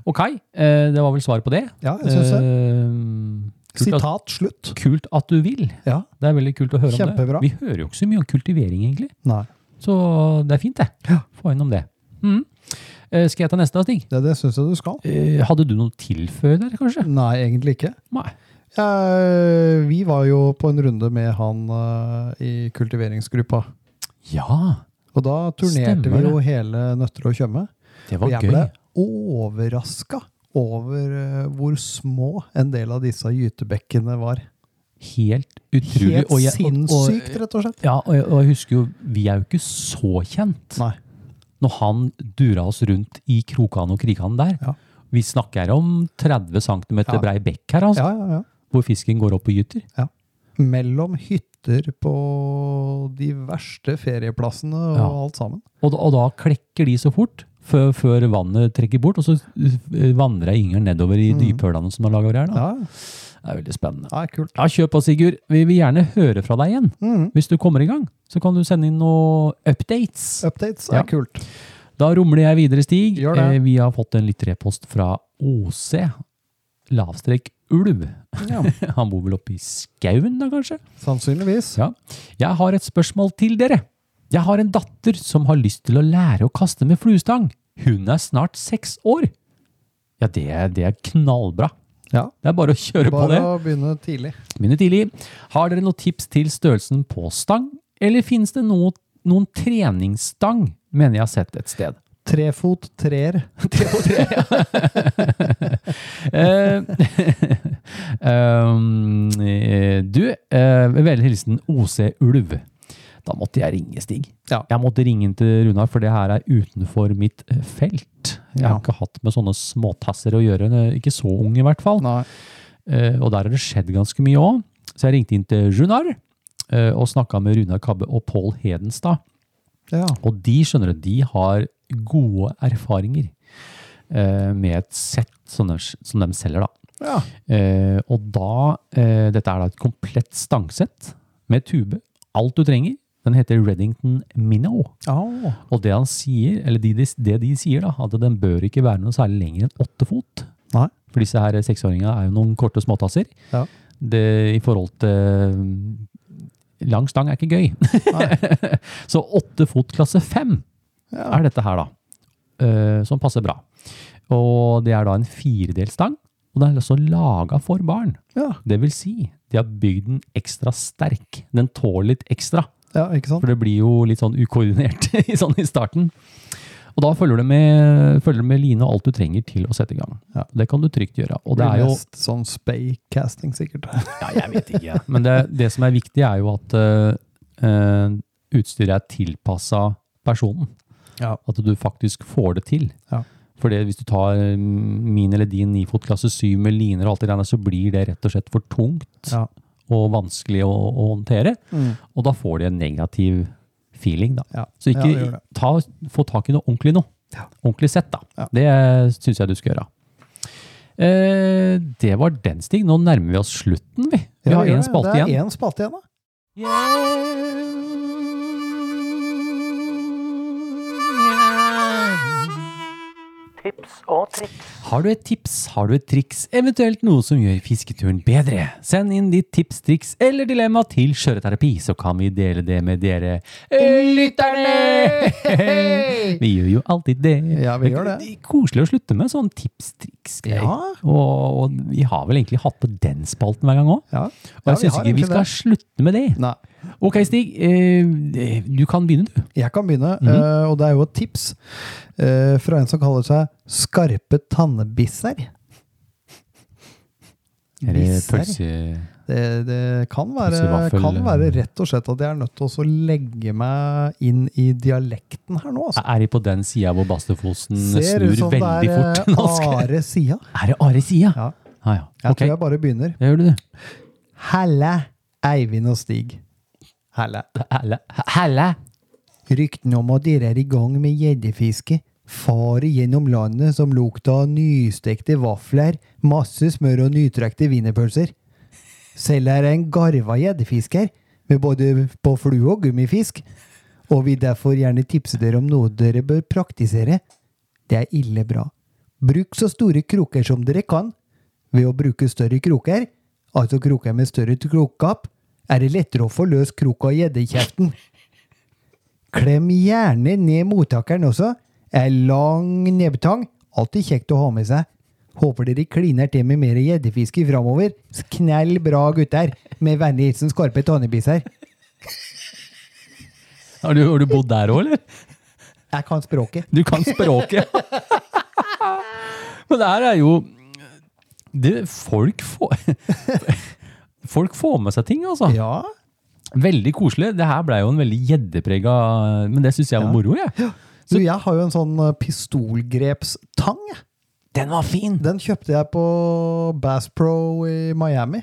S2: Ok, eh, det var vel svaret på det.
S6: Ja, jeg synes det.
S2: Eh, Kult at,
S6: Sitat slutt.
S2: kult at du vil.
S6: Ja.
S2: Det er veldig kult å høre
S6: Kjempebra.
S2: om det. Vi hører jo ikke så mye om kultivering, egentlig.
S6: Nei,
S2: Så det er fint, det.
S6: Ja.
S2: Få innom det. Mm. Eh, skal jeg ta neste, Stig?
S6: det, det syns jeg du skal.
S2: Eh, hadde du noe å tilføye der, kanskje?
S6: Nei, egentlig ikke.
S2: Nei.
S6: Eh, vi var jo på en runde med han eh, i kultiveringsgruppa.
S2: Ja,
S6: Og da turnerte
S2: Stemmer
S6: vi jo hele Nøtterøy og Tjøme.
S2: det
S6: Og
S2: var
S6: jeg
S2: gøy.
S6: ble overraska over eh, hvor små en del av disse gytebekkene var.
S2: Helt utrolig.
S6: Helt
S2: og jeg- og- og-
S6: sinnssykt, rett og slett.
S2: Ja, og jeg, og jeg husker jo, vi er jo ikke så kjent.
S6: Nei.
S2: Når han dura oss rundt i Krokan og Krikan der.
S6: Ja.
S2: Vi snakker om 30 cm
S6: Ja.
S2: brei bekk her, altså,
S6: Ja, ja, ja.
S2: hvor fisken går opp og gyter.
S6: Mellom hytter på de verste ferieplassene og
S2: Ja.
S6: alt sammen.
S2: Og, da- og da klekker de så fort før, før vannet trekker bort, og så eh, vandrer yngelen nedover i dyphølene som er laga over her. Da.
S6: Mm. Ja,
S2: Det er veldig spennende.
S6: ja kult.
S2: Ja, kjør på, Sigurd. Vi vil gjerne høre fra deg igjen.
S6: Mm.
S2: Hvis du kommer i gang, så kan du sende inn noen updates.
S6: Updates
S2: Ja.
S6: er kult.
S2: Da rumler jeg videre, Stig.
S6: Gjør det.
S2: Eh, Vi har fått en litterærpost fra OC. Lavstrek ulv. Han bor vel oppe i skauen da, kanskje?
S6: Sannsynligvis.
S2: Ja. Jeg har et spørsmål til dere. Jeg har en datter som har lyst til å lære å kaste med fluestang. Hun er snart seks år. Ja, det, er- det er knallbra.
S6: Ja.
S2: Det er bare å kjøre på
S6: Bare
S2: det.
S6: å begynne tidlig.
S2: Begynner tidlig. Har dere noen tips til størrelsen på stang? Eller finnes det noe, noen treningsstang, mener jeg har sett et sted?
S6: Trefot treer.
S2: Eh, um, eh, du, eh, med vennlig hilsen OC Ulv. Da måtte jeg ringe Stig.
S6: Ja.
S2: Jeg måtte ringe inn til Runar, for det her er utenfor mitt eh, felt. Jeg har
S6: Ja.
S2: ikke hatt med sånne småtasser å gjøre, eh, ikke så ung i hvert fall.
S6: Nei.
S2: Eh, og der har det skjedd ganske mye òg. Så jeg ringte inn til Runar eh, og snakka med Runar Kabbe og Pål Hedenstad.
S6: Ja.
S2: Og de skjønner du, de har gode erfaringer eh, med et sett som de, som de selger. da.
S6: ja.
S2: Eh, og da, eh, dette er da et komplett stangsett med tube, alt du trenger. Den heter Reddington Minnow.
S6: Au.
S2: Og det han sier, eller de, de- det de sier da, at den bør ikke være noe særlig lenger enn åtte fot.
S6: Nei.
S2: For disse her seksåringene er jo noen korte småtasser.
S6: Ja.
S2: Det, I forhold til mm, lang stang er ikke gøy. Så åtte fot klasse fem
S6: Ja.
S2: er dette her da, eh, som passer bra. Og det er da en firedelstang, og den er også laget for barn.
S6: Ja.
S2: Det vil si, de har bygd den ekstra sterk. Den tåler litt ekstra,
S6: ja, ikke sant?
S2: for det blir jo litt sånn ukoordinert i, sånn i starten. Og da følger det, med, følger det med line og alt du trenger til å sette i gang.
S6: Ja.
S2: Det kan du trygt gjøre. Og det er
S6: blir
S2: jo,
S6: mest sånn spay-casting, sikkert.
S2: ja, jeg vet ikke. Men det, det som er viktig er jo at eh, eh, utstyret er tilpasset personen.
S6: Ja.
S2: At du faktisk får det til.
S6: Ja.
S2: For det- hvis du tar mm, min eller din nifotklasse 7 med liner og alt det der, så blir det rett og slett for tungt
S6: Ja.
S2: og vanskelig å, å håndtere.
S6: Mm.
S2: Og da får de en negativ feeling, da.
S6: Ja.
S2: Så
S6: Ja, det
S2: ikke
S6: gjør det.
S2: ta, få tak i noe ordentlig nå.
S6: Ja.
S2: Ordentlig sett, da.
S6: Ja.
S2: Det syns jeg du skal gjøre. Eh, det var den, Stig. Nå nærmer vi oss slutten, vi. Vi
S6: Ja,
S2: har
S6: det gjør
S2: én
S6: det.
S2: spalte igjen.
S6: Det er én spalte igjen, da.
S3: Tips tips og triks.
S2: Har du et tips, har du et triks, eventuelt noe som gjør fisketuren bedre? Send inn ditt tips, triks eller dilemma til Skjøreterapi, så kan vi dele det med dere eh, lytterne! Vi gjør jo alltid det.
S6: Ja, vi gjør det.
S2: er Koselig å slutte med sånn tips, triks greier
S6: Ja.
S2: Og, og vi har vel egentlig hatt på den spalten hver gang òg.
S6: Ja.
S2: Og
S6: Ja,
S2: jeg syns
S6: har
S2: ikke vi
S6: egentlig
S2: skal
S6: det.
S2: slutte med det.
S6: Nei.
S2: Ok, Stig. Eh, du kan begynne, du.
S6: Jeg kan begynne,
S2: Mhm.
S6: eh, og det er jo et tips eh, fra en som kaller seg Skarpe tannebisser. Bisser? Det, det kan, være,
S2: Pølsevaffel,
S6: kan
S2: eh.
S6: være rett og slett at jeg er nødt til å også legge meg inn i dialekten her nå. Altså.
S2: Er de på den sida hvor Bastefosen
S6: Ser
S2: snur
S6: ut som det
S2: veldig
S6: er
S2: fort? Nå
S6: eh,
S2: skal-
S6: are sida.
S2: Er det Are sida?
S6: Ja.
S2: Ah, ja.
S6: Jeg
S2: Ok,
S6: tror jeg bare begynner.
S2: det gjør du, du.
S6: Helle, Eivind og Stig. Helle.
S2: Helle. Helle.
S6: Ryktene om at dere er i gang med gjeddefiske, farer gjennom landet som lukta av nystekte vafler, masse smør og nytrekte wienerpølser. Selv er jeg en garva gjeddefisker, med både på flue og gummifisk, og vil derfor gjerne tipse dere om noe dere bør praktisere. Det er ille bra. Bruk så store kroker som dere kan. Ved å bruke større kroker, altså kroker med større krokkapp, er det lettere å få løs kroka i gjeddekjeften. Klem gjerne ned mottakeren også. En lang nebbtang. Alltid kjekt å ha med seg. Håper dere kliner til med mer gjeddefiske framover. Knell bra, gutter. Med vennlig hilsen Skarpe tannebisser.
S2: Har du, har du bodd der òg, eller?
S6: Jeg kan språket.
S2: Du kan språket. Men det her er jo det, Folk får Folk får med seg ting, altså.
S6: Ja.
S2: Veldig koselig. Det her ble jo en veldig gjeddeprega Men det syns jeg var moro, jeg.
S6: Du, jeg har jo en sånn eh, pistolgrepstang. jeg.
S2: Den var fin!
S6: Den kjøpte jeg på Bass Pro i Miami.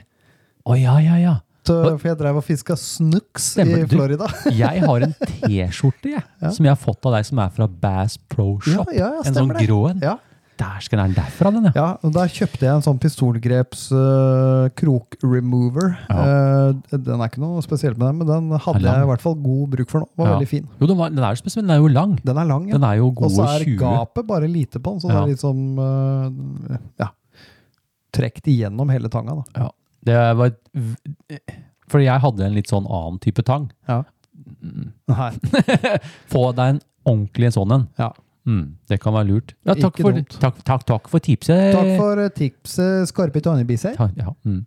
S2: Å ja, ja, ja.
S6: Så- For jeg drev og fiska snooks i
S2: Stemmer, du-
S6: Florida.
S2: Jeg har en T-skjorte jeg, som jeg har fått av deg, som er fra Bass Pro Shop. en sånn
S6: stemmer det.
S2: grå en.
S6: Ja.
S2: Der skal den derfra, den, ja.
S6: Ja, og der kjøpte jeg en sånn pistolgreps eh, krokremover. Eh, den er ikke noe spesielt med den, men den hadde
S2: Er lang.
S6: jeg i hvert fall god bruk for nå. Den Var
S2: Ja.
S6: veldig fin.
S2: Jo, den, var, den er jo spesiell, men den er jo lang.
S6: Den er lang, ja.
S2: Den er jo
S6: Og så
S2: gode
S6: er
S2: 20.
S6: gapet bare lite på den, så
S2: Ja.
S6: det er litt som eh, ja, trekt igjennom hele tanga. da.
S2: Ja. Det var et, v- fordi jeg hadde en litt sånn annen type tang.
S6: Nei,
S2: Få deg en ordentlig en sånn en.
S6: ja.
S2: Mm, det kan være lurt. Ja, takk,
S6: Ikke
S2: for,
S6: dumt.
S2: takk, takk, takk for tipset.
S6: Takk for eh, tipset, skarpe tannebisser.
S2: Ta- Ja, mm.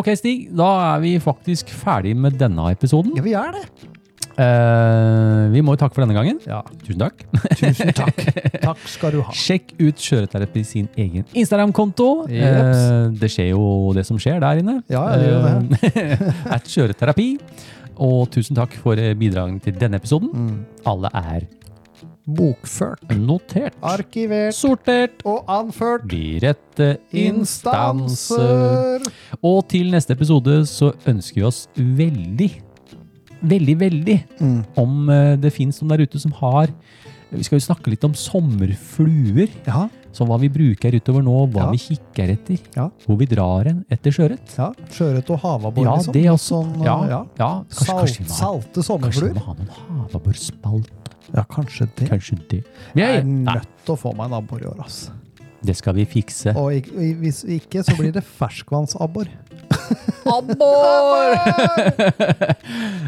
S2: Ok, Stig. Da er vi faktisk ferdig med denne episoden.
S6: Ja, vi er det.
S2: Eh, vi må jo takke for denne gangen.
S6: Ja.
S2: Tusen takk.
S6: Tusen takk. Takk skal du ha.
S2: Sjekk ut Skjøreterapi sin egen Instagram-konto.
S6: Jeps.
S2: Eh, det skjer jo det som skjer der inne.
S6: Ja, det gjør
S2: Eh, At Skjøreterapi. Og tusen takk for eh, bidragene til denne episoden. Alle er
S6: Mm. Bokført,
S2: notert,
S6: arkivert
S2: sortert
S6: og anført
S2: de rette instanser.
S6: instanser.
S2: Og til neste episode så ønsker vi oss veldig, veldig, veldig
S6: Mm.
S2: om eh, det fins noen der ute som har Vi skal jo snakke litt om sommerfluer.
S6: Ja,
S2: Så hva vi bruker utover nå, hva
S6: Ja.
S2: vi kikker etter,
S6: Ja.
S2: hvor vi drar hen etter sjøørret.
S6: ja. Sjøørret og havabbor,
S2: Ja,
S6: liksom.
S2: det
S6: Litt
S2: også.
S6: Sånn,
S2: ja,
S6: eh,
S2: ja.
S6: ja.
S2: Kanskje,
S6: Salt,
S2: kanskje vi må ha,
S6: salte
S2: kanskje vi
S6: sommerfluer.
S2: må ha noen havabborspalt.
S6: Ja, kanskje det.
S2: Kanskje det. Vi
S6: Jeg
S2: er,
S6: er
S2: nei,
S6: nødt til å få meg en abbor i år, ass.
S2: det skal vi fikse.
S6: Og ik- i- hvis ikke, så blir det ferskvannsabbor.
S2: Abbor!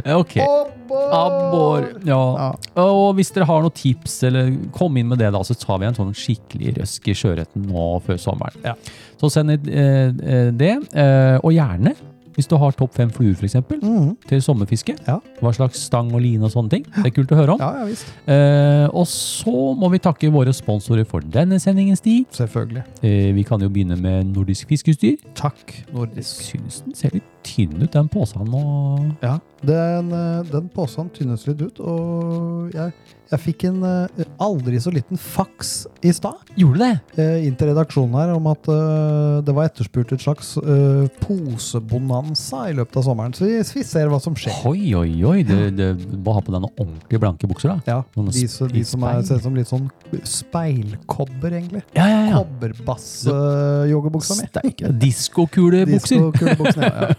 S2: Eh, ok.
S6: Abbor!
S2: Abbor. Ja.
S6: Ja.
S2: Og hvis dere har noen tips, eller kom inn med det, da, så tar vi en sånn skikkelig røsk i sjøørreten nå før sommeren.
S6: Ja.
S2: Så send inn, eh, eh, det, eh, og gjerne hvis du har topp fem fluer, f.eks., eksempel
S6: Mhm.
S2: til sommerfiske.
S6: Ja.
S2: Hva slags stang og line og sånne ting. Det er kult å høre om.
S6: Ja, ja visst.
S2: Eh, og så må vi takke våre sponsorer for denne sendingen, Stig.
S6: Selvfølgelig.
S2: Eh, vi kan jo begynne med Nordisk Fiskeutstyr.
S6: Takk,
S2: Jeg
S6: nordisk.
S2: syns den ser litt tynn ut, den posen nå.
S6: Ja, den, eh, den påsen tynnes litt ut, og jeg, jeg fikk en eh, aldri så liten faks i stad.
S2: Gjorde det?
S6: eh, inn til redaksjonen her om at eh, det var etterspurt et slags eh, posebonanza i løpet av sommeren. Så vi, vi ser hva som skjer.
S2: Oi, oi, oi. Det, det, bare ha på deg noen ordentlig blanke bukser, da.
S6: Ja,
S2: Noen
S6: de, som- de som er,
S2: speil.
S6: ser ut som litt sånn speilkobber, egentlig.
S2: Ja, ja, ja.
S6: Kobberbass-joggebuksa mi.
S2: Diskokulebukser.
S6: Diskokulebuksen, ja, ja.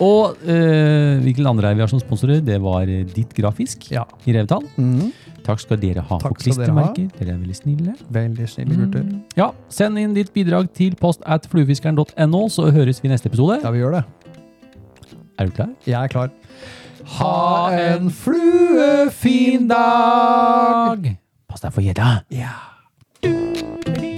S2: Og eh, hvilken andre er vi har som sponsorer? Det var eh, Ditt Grafisk
S6: Ja.
S2: i Revetal.
S6: Mhm.
S2: Takk skal dere ha
S6: Takk
S2: for
S6: skal dere ha.
S2: klistremerker. Dere, er veldig snille. Mm.
S6: Veldig snille gutter.
S2: Ja, Send inn ditt bidrag til post at fluefiskeren.no, så høres vi i neste episode.
S6: Ja, vi gjør det.
S2: Er du klar?
S6: Jeg er klar.
S2: Ha en fluefin dag! Pass deg for gjedda.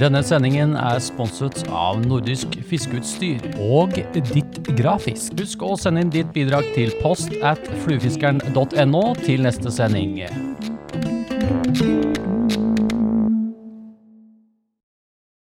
S2: Denne sendingen er sponset av Nordisk Fiskeutstyr og Ditt Grafisk. Husk å sende inn ditt bidrag til post at fluefiskeren.no til neste sending.